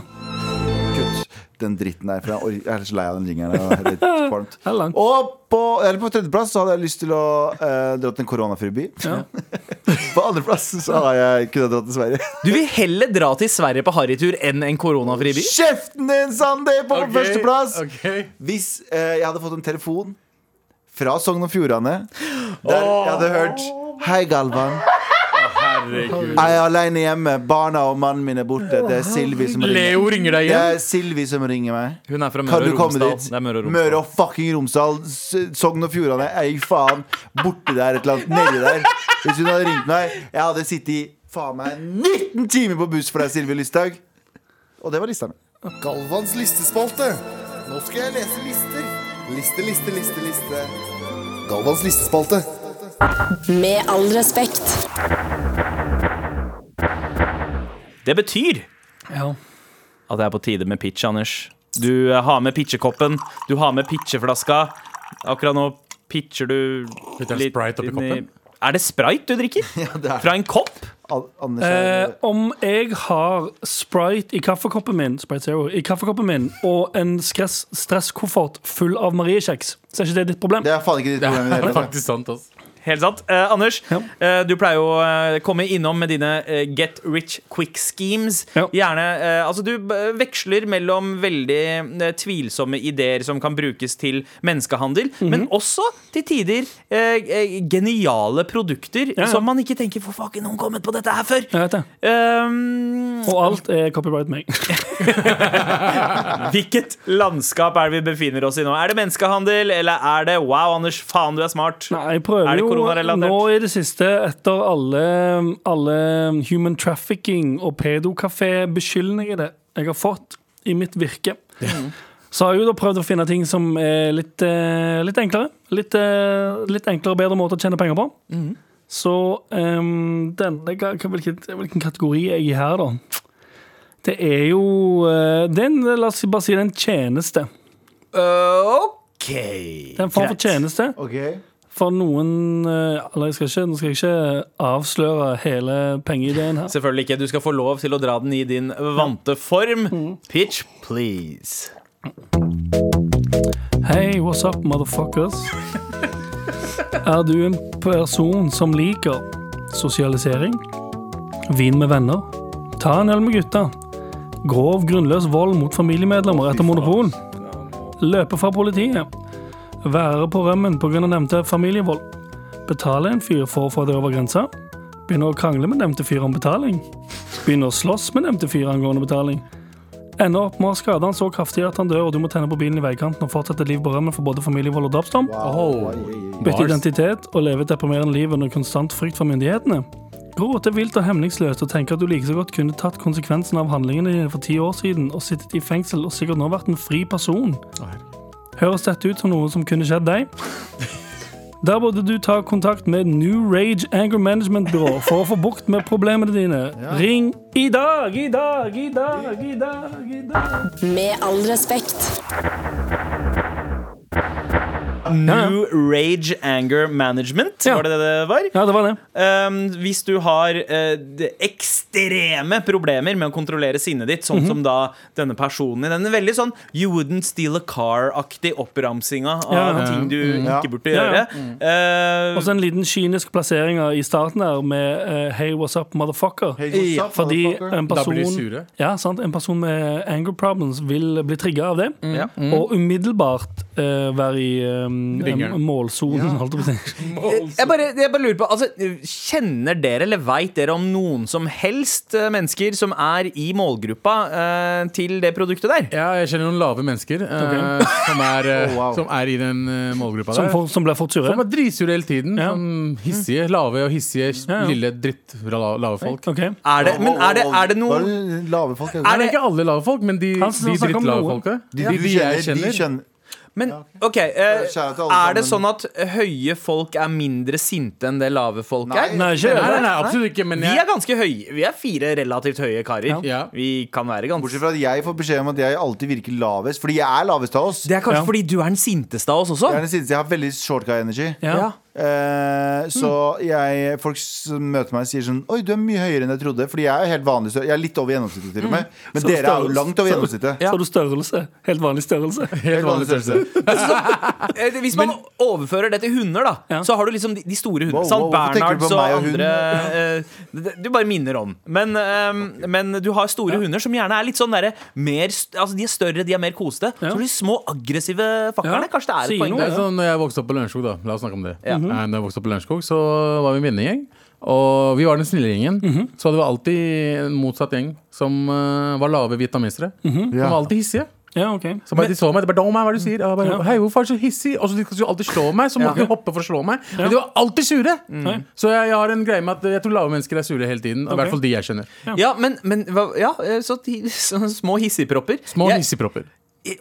Speaker 4: Kutt den dritten der, for jeg or- jeg er så lei av den jingeren. og det er litt kvalmt.
Speaker 2: er langt.
Speaker 4: Og på, eller på tredjeplass så hadde jeg lyst til å eh, dra til en koronafri by. på andreplass så har jeg kunnet dra til Sverige.
Speaker 5: Du vil heller dra til Sverige på harrytur enn en koronafri by?
Speaker 4: Kjeften din, Sander, på
Speaker 3: Ok,
Speaker 4: førsteplass!
Speaker 3: ok.
Speaker 4: Hvis eh, jeg hadde fått en telefon fra Sogn og Fjordane der jeg hadde hørt Hei, Galvan. Jeg er aleine hjemme. Barna og mannen min er borte. Det er Silvi som
Speaker 3: Leo
Speaker 4: ringer.
Speaker 3: ringer deg
Speaker 4: Det
Speaker 3: igjen.
Speaker 4: er Silvi som ringer meg.
Speaker 5: Hun er fra
Speaker 4: Kan
Speaker 5: Møre
Speaker 4: du
Speaker 5: og
Speaker 4: komme
Speaker 5: Romsdal.
Speaker 4: dit?
Speaker 5: Det er Møre og Romsdal.
Speaker 4: Møre og fucking Romsdal. S- Sogn og Fjordane. Ei, faen. Borte der, et eller annet. Nedi der. Hvis hun hadde ringt meg Jeg hadde sittet i faen meg 19 timer på buss for deg, Silvi Lysthaug. Og det var lista mi.
Speaker 6: Galvans listespalte. Nå skal jeg lese lister. Liste, liste, liste, liste. Galvans listespalte.
Speaker 1: Med all respekt.
Speaker 5: Det betyr
Speaker 2: Ja.
Speaker 5: at det er på tide med pitch, Anders. Du eh, har med pitchekoppen, du har med pitcheflaska. Akkurat nå pitcher du
Speaker 3: Putter jeg Sprite oppi
Speaker 5: inn
Speaker 3: koppen?
Speaker 5: Er det sprite du drikker?
Speaker 4: det er-
Speaker 5: Fra en kopp?
Speaker 4: Al- Anders
Speaker 2: Eh,
Speaker 4: er
Speaker 2: om jeg har Sprite i kaffekoppen min Sprite Zero i kaffekoppen min og en stress, stresskoffert full av Mariekjeks, så er ikke det ditt problem.
Speaker 4: Det er faen ikke ditt problem. i det
Speaker 3: Det
Speaker 4: hele
Speaker 3: er
Speaker 4: tatt.
Speaker 3: faktisk sant, altså.
Speaker 5: Helt sant. Eh, Anders,
Speaker 2: Ja.
Speaker 5: eh, du pleier jo å eh, komme innom med dine eh, get rich quick schemes.
Speaker 2: Ja.
Speaker 5: Gjerne, eh, altså Du eh, veksler mellom veldig eh, tvilsomme ideer som kan brukes til menneskehandel,
Speaker 2: Mhm.
Speaker 5: men også til tider eh, eh, geniale produkter
Speaker 2: ja.
Speaker 5: som man ikke tenker 'Hvorfor har ikke noen kommet på dette her før?'
Speaker 2: Jeg vet det.
Speaker 5: Ehm,
Speaker 2: Og alt er copyright meg.
Speaker 5: hvilket landskap er det vi befinner oss i nå? Er det menneskehandel, eller er det 'Wow, Anders, faen, du er smart'?
Speaker 2: Nei, jeg prøver
Speaker 5: Er det
Speaker 2: jo
Speaker 5: koronarelatert?
Speaker 2: nå i det siste, etter alle, alle human trafficking og pedokafé-beskyldningene jeg har fått i mitt virke, så har jeg jo da prøvd å finne ting som er litt, eh, litt enklere. Litt, eh, litt enklere og bedre måter å tjene penger på. Så ehm, denne, ga- hva- hvilken, hvilken kategori er jeg i her, da? Det er jo eh, det er en, La oss bare si det er en tjeneste.
Speaker 5: Eh, OK.
Speaker 2: Det er en form for
Speaker 5: Greit.
Speaker 2: tjeneste.
Speaker 4: Ok.
Speaker 2: For noen eh, Eller jeg skal ikke, nå skal jeg ikke avsløre hele pengeideen her.
Speaker 5: Selvfølgelig ikke. Du skal få lov til å dra den i din vante form.
Speaker 2: Mm.
Speaker 5: Pitch, please.
Speaker 2: Hei, what's up, motherfuckers? Er du en person som liker sosialisering? Vin med venner? Ta en øl med gutta? Grov, grunnløs vold mot familiemedlemmer etter monopol? Løpe fra politiet? Være på rømmen pga. nevnte familievold? Betale en fyr for å få det over grensa? Begynne å krangle med nevnte fyr om betaling? Begynne å slåss med nevnte fyr angående betaling? Ender opp med å skade han så kraftig at han dør, og du må tenne på bilen i veikanten og fortsette liv på rømmen for både familievold og drapsdom.
Speaker 3: Oh,
Speaker 2: Bytte identitet og leve et deprimerende liv under konstant frykt fra myndighetene. Gråte vilt og hemningsløst og tenke at du like så godt kunne tatt konsekvensen av handlingene dine for ti år siden og sittet i fengsel og sikkert nå vært en fri person. Høres dette ut som noe som kunne skjedd deg? Der burde du ta kontakt med New Rage Anger Management Byrå for å få bukt med problemene dine. Ring i dag, i dag, i dag, i dag, i dag.
Speaker 1: Med all respekt.
Speaker 5: New Rage Anger Management,
Speaker 2: Ja.
Speaker 5: var det det det var?
Speaker 2: Ja, det var det.
Speaker 5: Um, hvis du har eh, de- ekstreme problemer med å kontrollere sinnet ditt,
Speaker 2: Mhm.
Speaker 5: sånn som da denne personen i denne veldig sånn You wouldn't steal a car-aktig oppramsinga av
Speaker 2: Ja, ja.
Speaker 5: ting du
Speaker 4: Ja.
Speaker 5: ikke burde
Speaker 2: Ja, ja. Mm.
Speaker 5: gjøre. Eh,
Speaker 2: Og så en liten kynisk plassering av- i starten her med eh, Hey, what's up, motherfucker?
Speaker 4: Hey, what's up,
Speaker 2: Fordi
Speaker 4: motherfucker?
Speaker 2: en
Speaker 3: Da blir de
Speaker 2: person,
Speaker 3: sure.
Speaker 2: ja, sant? en person med anger problems vil bli trigga av det.
Speaker 5: ja.
Speaker 2: Og umiddelbart eh, være i eh,
Speaker 3: Ringeren.
Speaker 2: målsonen, holdt jeg på å si.
Speaker 5: Jeg bare, jeg bare lurer på altså, Kjenner dere eller veit dere om noen som helst eh, mennesker som er i målgruppa eh, til det produktet der?
Speaker 3: Ja, jeg kjenner noen lave mennesker eh, som, er,
Speaker 4: Oh,
Speaker 3: eh, som er i den eh, målgruppa
Speaker 2: Som,
Speaker 3: der.
Speaker 2: for, som blir fort sure.
Speaker 3: Som er dritsure hele tiden.
Speaker 2: Ja.
Speaker 3: Sånn hissige, lave og hissige
Speaker 2: Ja, ja.
Speaker 3: lille dritt la- lave folk.
Speaker 2: Ok.
Speaker 5: Er det, men er det, er det
Speaker 4: Hva
Speaker 5: noen
Speaker 4: er det lave folk altså?
Speaker 3: Er
Speaker 5: det-
Speaker 3: det ikke alle lave folk, men de,
Speaker 2: Han som
Speaker 3: de
Speaker 2: snakker om
Speaker 3: drittlave
Speaker 2: noen.
Speaker 3: folka? De, de,
Speaker 4: Du
Speaker 3: jeg
Speaker 4: kjenner, de
Speaker 3: kjenner.
Speaker 4: kjenner.
Speaker 5: Men ok, eh,
Speaker 4: Kjære til alle
Speaker 5: er det sånn
Speaker 4: sammen.
Speaker 5: at høye folk er mindre sinte enn det lave folk
Speaker 2: Nei,
Speaker 5: er?
Speaker 2: ikke
Speaker 3: Nei,
Speaker 2: det.
Speaker 3: nei, nei, absolutt ikke, men
Speaker 5: Vi er
Speaker 3: jeg
Speaker 5: ganske høye. Vi er fire relativt høye karer.
Speaker 3: Ja.
Speaker 5: Vi kan være
Speaker 4: Bortsett
Speaker 5: ganske
Speaker 4: fra at jeg får beskjed om at jeg alltid virker lavest, fordi jeg er lavest av oss.
Speaker 5: Det er kanskje
Speaker 2: Ja.
Speaker 5: fordi du er den sinteste av oss også?
Speaker 4: Jeg er den siste. Jeg har veldig short guy energy.
Speaker 2: Ja.
Speaker 5: Ja.
Speaker 4: Eh, Så jeg, folk som møter meg, sier sånn Oi, du er mye høyere enn jeg trodde. Fordi jeg er helt vanlig større. Jeg er litt over gjennomsnittet, til og med. Men
Speaker 2: Så
Speaker 4: dere er
Speaker 2: størrelse-
Speaker 4: jo langt over
Speaker 2: så-
Speaker 4: gjennomsnittet.
Speaker 2: Så har du størrelse. Helt vanlig størrelse.
Speaker 3: Helt vanlig størrelse.
Speaker 5: Eh, Hvis man overfører det til hunder, da,
Speaker 2: Ja.
Speaker 5: så har du liksom de, de store hundene.
Speaker 4: Wow,
Speaker 5: Sant?
Speaker 4: wow, hvorfor tenker du på
Speaker 5: Bernhards og
Speaker 4: meg og hund?
Speaker 5: andre eh, det- Du bare minner om. Men, eh, men du har store hunder som gjerne er litt sånn derre mer st- Altså, de er større, de er mer kosete.
Speaker 2: Ja.
Speaker 5: Så har du de små aggressive fakkerne.
Speaker 2: Ja.
Speaker 5: Kanskje det er
Speaker 2: Sier
Speaker 5: et poeng
Speaker 2: noe,
Speaker 3: Det
Speaker 5: der.
Speaker 3: er sånn når jeg vokste opp på Lørenskog, da. La oss snakke om det. Nei, Når jeg vokste opp på Lørenskog, så var vi en vennegjeng. Og vi var den snille gjengen. Så det var alltid en motsatt gjeng som eh, var lave vietnamesere. De var alltid hissige.
Speaker 2: Ja, ok.
Speaker 3: Så bare de så meg, de bare, «Dom, hva er det du sier? Og Jeg bare, Hei, hvorfor er du så hissig? Og så de skulle alltid slå meg, så måtte de hoppe for å slå meg. Men de var alltid sure! Så jeg, jeg har en greie med at jeg tror lave mennesker er sure hele tiden. og I hvert fall de jeg kjenner.
Speaker 5: Ja, men, men hva- ja, eh, så, ti- så små hissigpropper.
Speaker 3: Små
Speaker 5: Jeg-
Speaker 3: hissigpropper.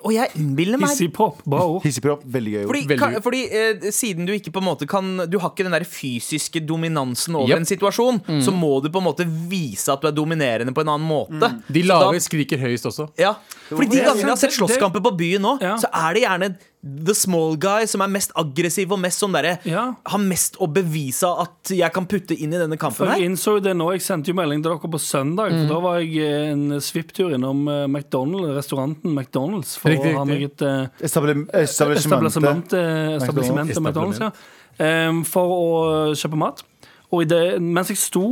Speaker 5: Og jeg innbiller meg
Speaker 2: Hissig pop. Bra ord.
Speaker 4: Hissigpropp, veldig gøy. ord.
Speaker 5: fordi,
Speaker 3: Veldig-
Speaker 5: ka, fordi eh, siden du ikke på en måte kan Du har ikke den der fysiske dominansen over
Speaker 3: Yep.
Speaker 5: en situasjon, så må du på en måte vise at du er dominerende på en annen måte.
Speaker 3: De
Speaker 5: Så
Speaker 3: lave
Speaker 5: da-
Speaker 3: skriker høyest også.
Speaker 5: Ja, fordi de
Speaker 2: det-
Speaker 5: gangene jeg har sett
Speaker 2: det-
Speaker 5: slåsskamper på byen nå,
Speaker 2: Ja.
Speaker 5: så er det gjerne the small guy som er mest aggressiv og mest sånn derre
Speaker 2: Ja.
Speaker 5: Har mest å bevise at jeg kan putte inn i denne kampen
Speaker 2: For
Speaker 5: her.
Speaker 2: jeg innså jo det nå, jeg sendte jo melding til dere på søndag. For Da var jeg eh, en svipptur innom eh, McDonald's, restauranten McDonald's for
Speaker 3: Riktig,
Speaker 2: å ha meg et eh,
Speaker 4: Establem- Establissementet.
Speaker 2: Establissement eh, establissement til McDonald's, ja. Em, for å eh, kjøpe mat. Og i det, mens jeg sto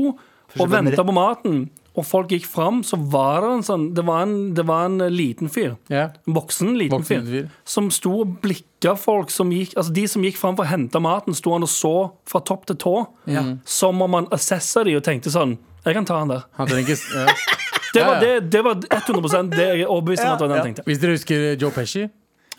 Speaker 2: og
Speaker 4: den
Speaker 2: venta på maten, og folk gikk fram, så var det en sånn Det var en, det var en liten fyr.
Speaker 3: Ja.
Speaker 2: En voksen liten
Speaker 3: Voksen
Speaker 2: fyr.
Speaker 3: fyr.
Speaker 2: Som sto og blikka folk som gikk Altså de som gikk fram for å hente maten, sto han og så fra topp til tå.
Speaker 5: Mm.
Speaker 2: Som om han assessa de og tenkte sånn Jeg kan ta han der.
Speaker 3: Han trenger ikke ja.
Speaker 2: Det var,
Speaker 3: Ja,
Speaker 2: det,
Speaker 3: ja.
Speaker 2: det var 100 det jeg er overbevist om at det var det han tenkte.
Speaker 3: Hvis dere husker Joe Pesci,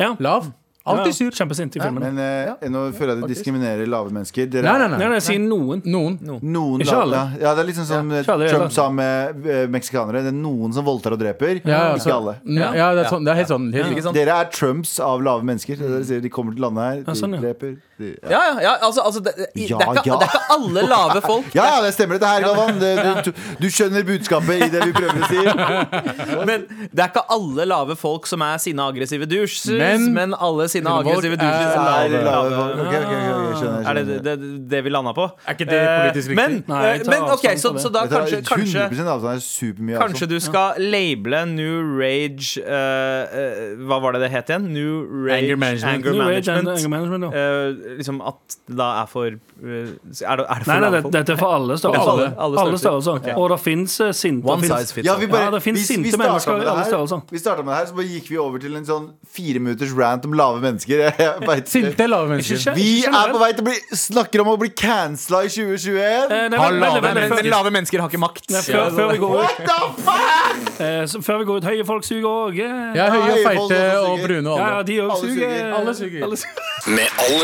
Speaker 2: Ja.
Speaker 3: lav.
Speaker 2: Ja,
Speaker 3: Alltid
Speaker 2: ja.
Speaker 3: sur.
Speaker 2: Kjempesint i filmen.
Speaker 4: Men eh, nå føler jeg at du diskriminerer lave mennesker. Dere
Speaker 3: Nei, nei,
Speaker 4: er-
Speaker 3: nei.
Speaker 2: Nei, nei, jeg sier noen.
Speaker 3: Noen.
Speaker 4: Noen
Speaker 2: Ikke
Speaker 4: la-
Speaker 2: alle.
Speaker 4: Ja, ja, det er liksom som eh,
Speaker 2: ikke alle,
Speaker 4: Trump
Speaker 2: alle.
Speaker 4: sa med eh, meksikanere. Det er noen som voldtar og dreper,
Speaker 3: Ja, ja.
Speaker 4: ikke alle.
Speaker 3: Ja, ja, det, er sånn, det er helt sånn. Helt
Speaker 5: Ikke
Speaker 3: riktig.
Speaker 5: sant?
Speaker 4: Dere er Trumps av lave mennesker. Det er det dere sier. De kommer til landet her, de
Speaker 2: sånn, ja.
Speaker 4: dreper de, ja.
Speaker 5: Ja, ja, ja, altså, altså det, i-
Speaker 4: Ja,
Speaker 5: det, er ikke,
Speaker 4: ja.
Speaker 5: det er ikke alle lave folk.
Speaker 4: ja, ja, det stemmer dette her, Galvan. Det, du, du skjønner budskapet i det vi prøver å si.
Speaker 5: Men det er ikke alle lave folk som er sinna aggressive douches, men,
Speaker 3: Men-
Speaker 5: alle sinna
Speaker 3: Sinne folk
Speaker 5: aggressive
Speaker 3: er
Speaker 5: douches
Speaker 4: Er
Speaker 5: er
Speaker 4: lave,
Speaker 5: lave.
Speaker 4: ok, ok, ok, skjønner, skjønner.
Speaker 5: Er det det, det, det vi landa på?
Speaker 3: Er ikke det politisk
Speaker 5: Eh,
Speaker 3: riktig?
Speaker 5: Men,
Speaker 2: Nei, jeg tar
Speaker 5: men ok,
Speaker 2: avstand
Speaker 5: så,
Speaker 2: fra det.
Speaker 5: så da
Speaker 4: Jeg tar
Speaker 5: kanskje, kanskje
Speaker 4: 100 avstand. Det er supermye altså.
Speaker 5: Kanskje
Speaker 4: avstand.
Speaker 5: du skal labele New Rage eh, eh, Hva var det det het igjen? New Rage
Speaker 3: Anger management.
Speaker 5: Anger
Speaker 2: New Age and
Speaker 5: Management.
Speaker 2: Anger Management, ja.
Speaker 5: Eh, liksom at det da er for eh, Er det, er det for
Speaker 2: Nei, nei,
Speaker 5: lave
Speaker 2: det-
Speaker 5: folk?
Speaker 2: dette er for alle størrelser.
Speaker 5: Alle- alle
Speaker 2: Alle
Speaker 5: størrelser.
Speaker 2: størrelser. Og det fins sinte
Speaker 5: One
Speaker 2: det finnes-
Speaker 5: size fits
Speaker 4: Ja, vi bare,
Speaker 2: Ja, det finnes
Speaker 4: vi- vi
Speaker 2: sinte
Speaker 4: startet
Speaker 2: mennesker
Speaker 4: med
Speaker 2: i
Speaker 4: det
Speaker 2: alle
Speaker 4: her.
Speaker 2: størrelser.
Speaker 4: Vi starta med det her, så bare gikk vi over til en sånn fire minutters rant om lave mennesker. Jeg vet-
Speaker 3: Sinte lave mennesker.
Speaker 2: Ikke
Speaker 4: Vi
Speaker 2: Ikke
Speaker 4: er
Speaker 2: generelt.
Speaker 4: på vei til å bli Snakker om å bli cancela i 2021.
Speaker 2: Eh, nei,
Speaker 3: Har
Speaker 2: vent, vent,
Speaker 3: lave
Speaker 2: vent, vent,
Speaker 5: Men
Speaker 2: før-
Speaker 5: lave mennesker har ikke makt.
Speaker 2: Nei, før, før vi går ut
Speaker 4: What the fuck?!
Speaker 2: eh, så- Før vi går ut Høye folk suger eh. òg.
Speaker 3: Jeg
Speaker 2: Ja,
Speaker 3: er høye og
Speaker 4: Nei, folk
Speaker 3: feite
Speaker 4: også
Speaker 3: og
Speaker 4: suger.
Speaker 3: brune og
Speaker 2: ja,
Speaker 3: alle.
Speaker 2: de òg
Speaker 4: Alle
Speaker 2: suger.
Speaker 4: suger.
Speaker 3: Alle suger.
Speaker 7: Med all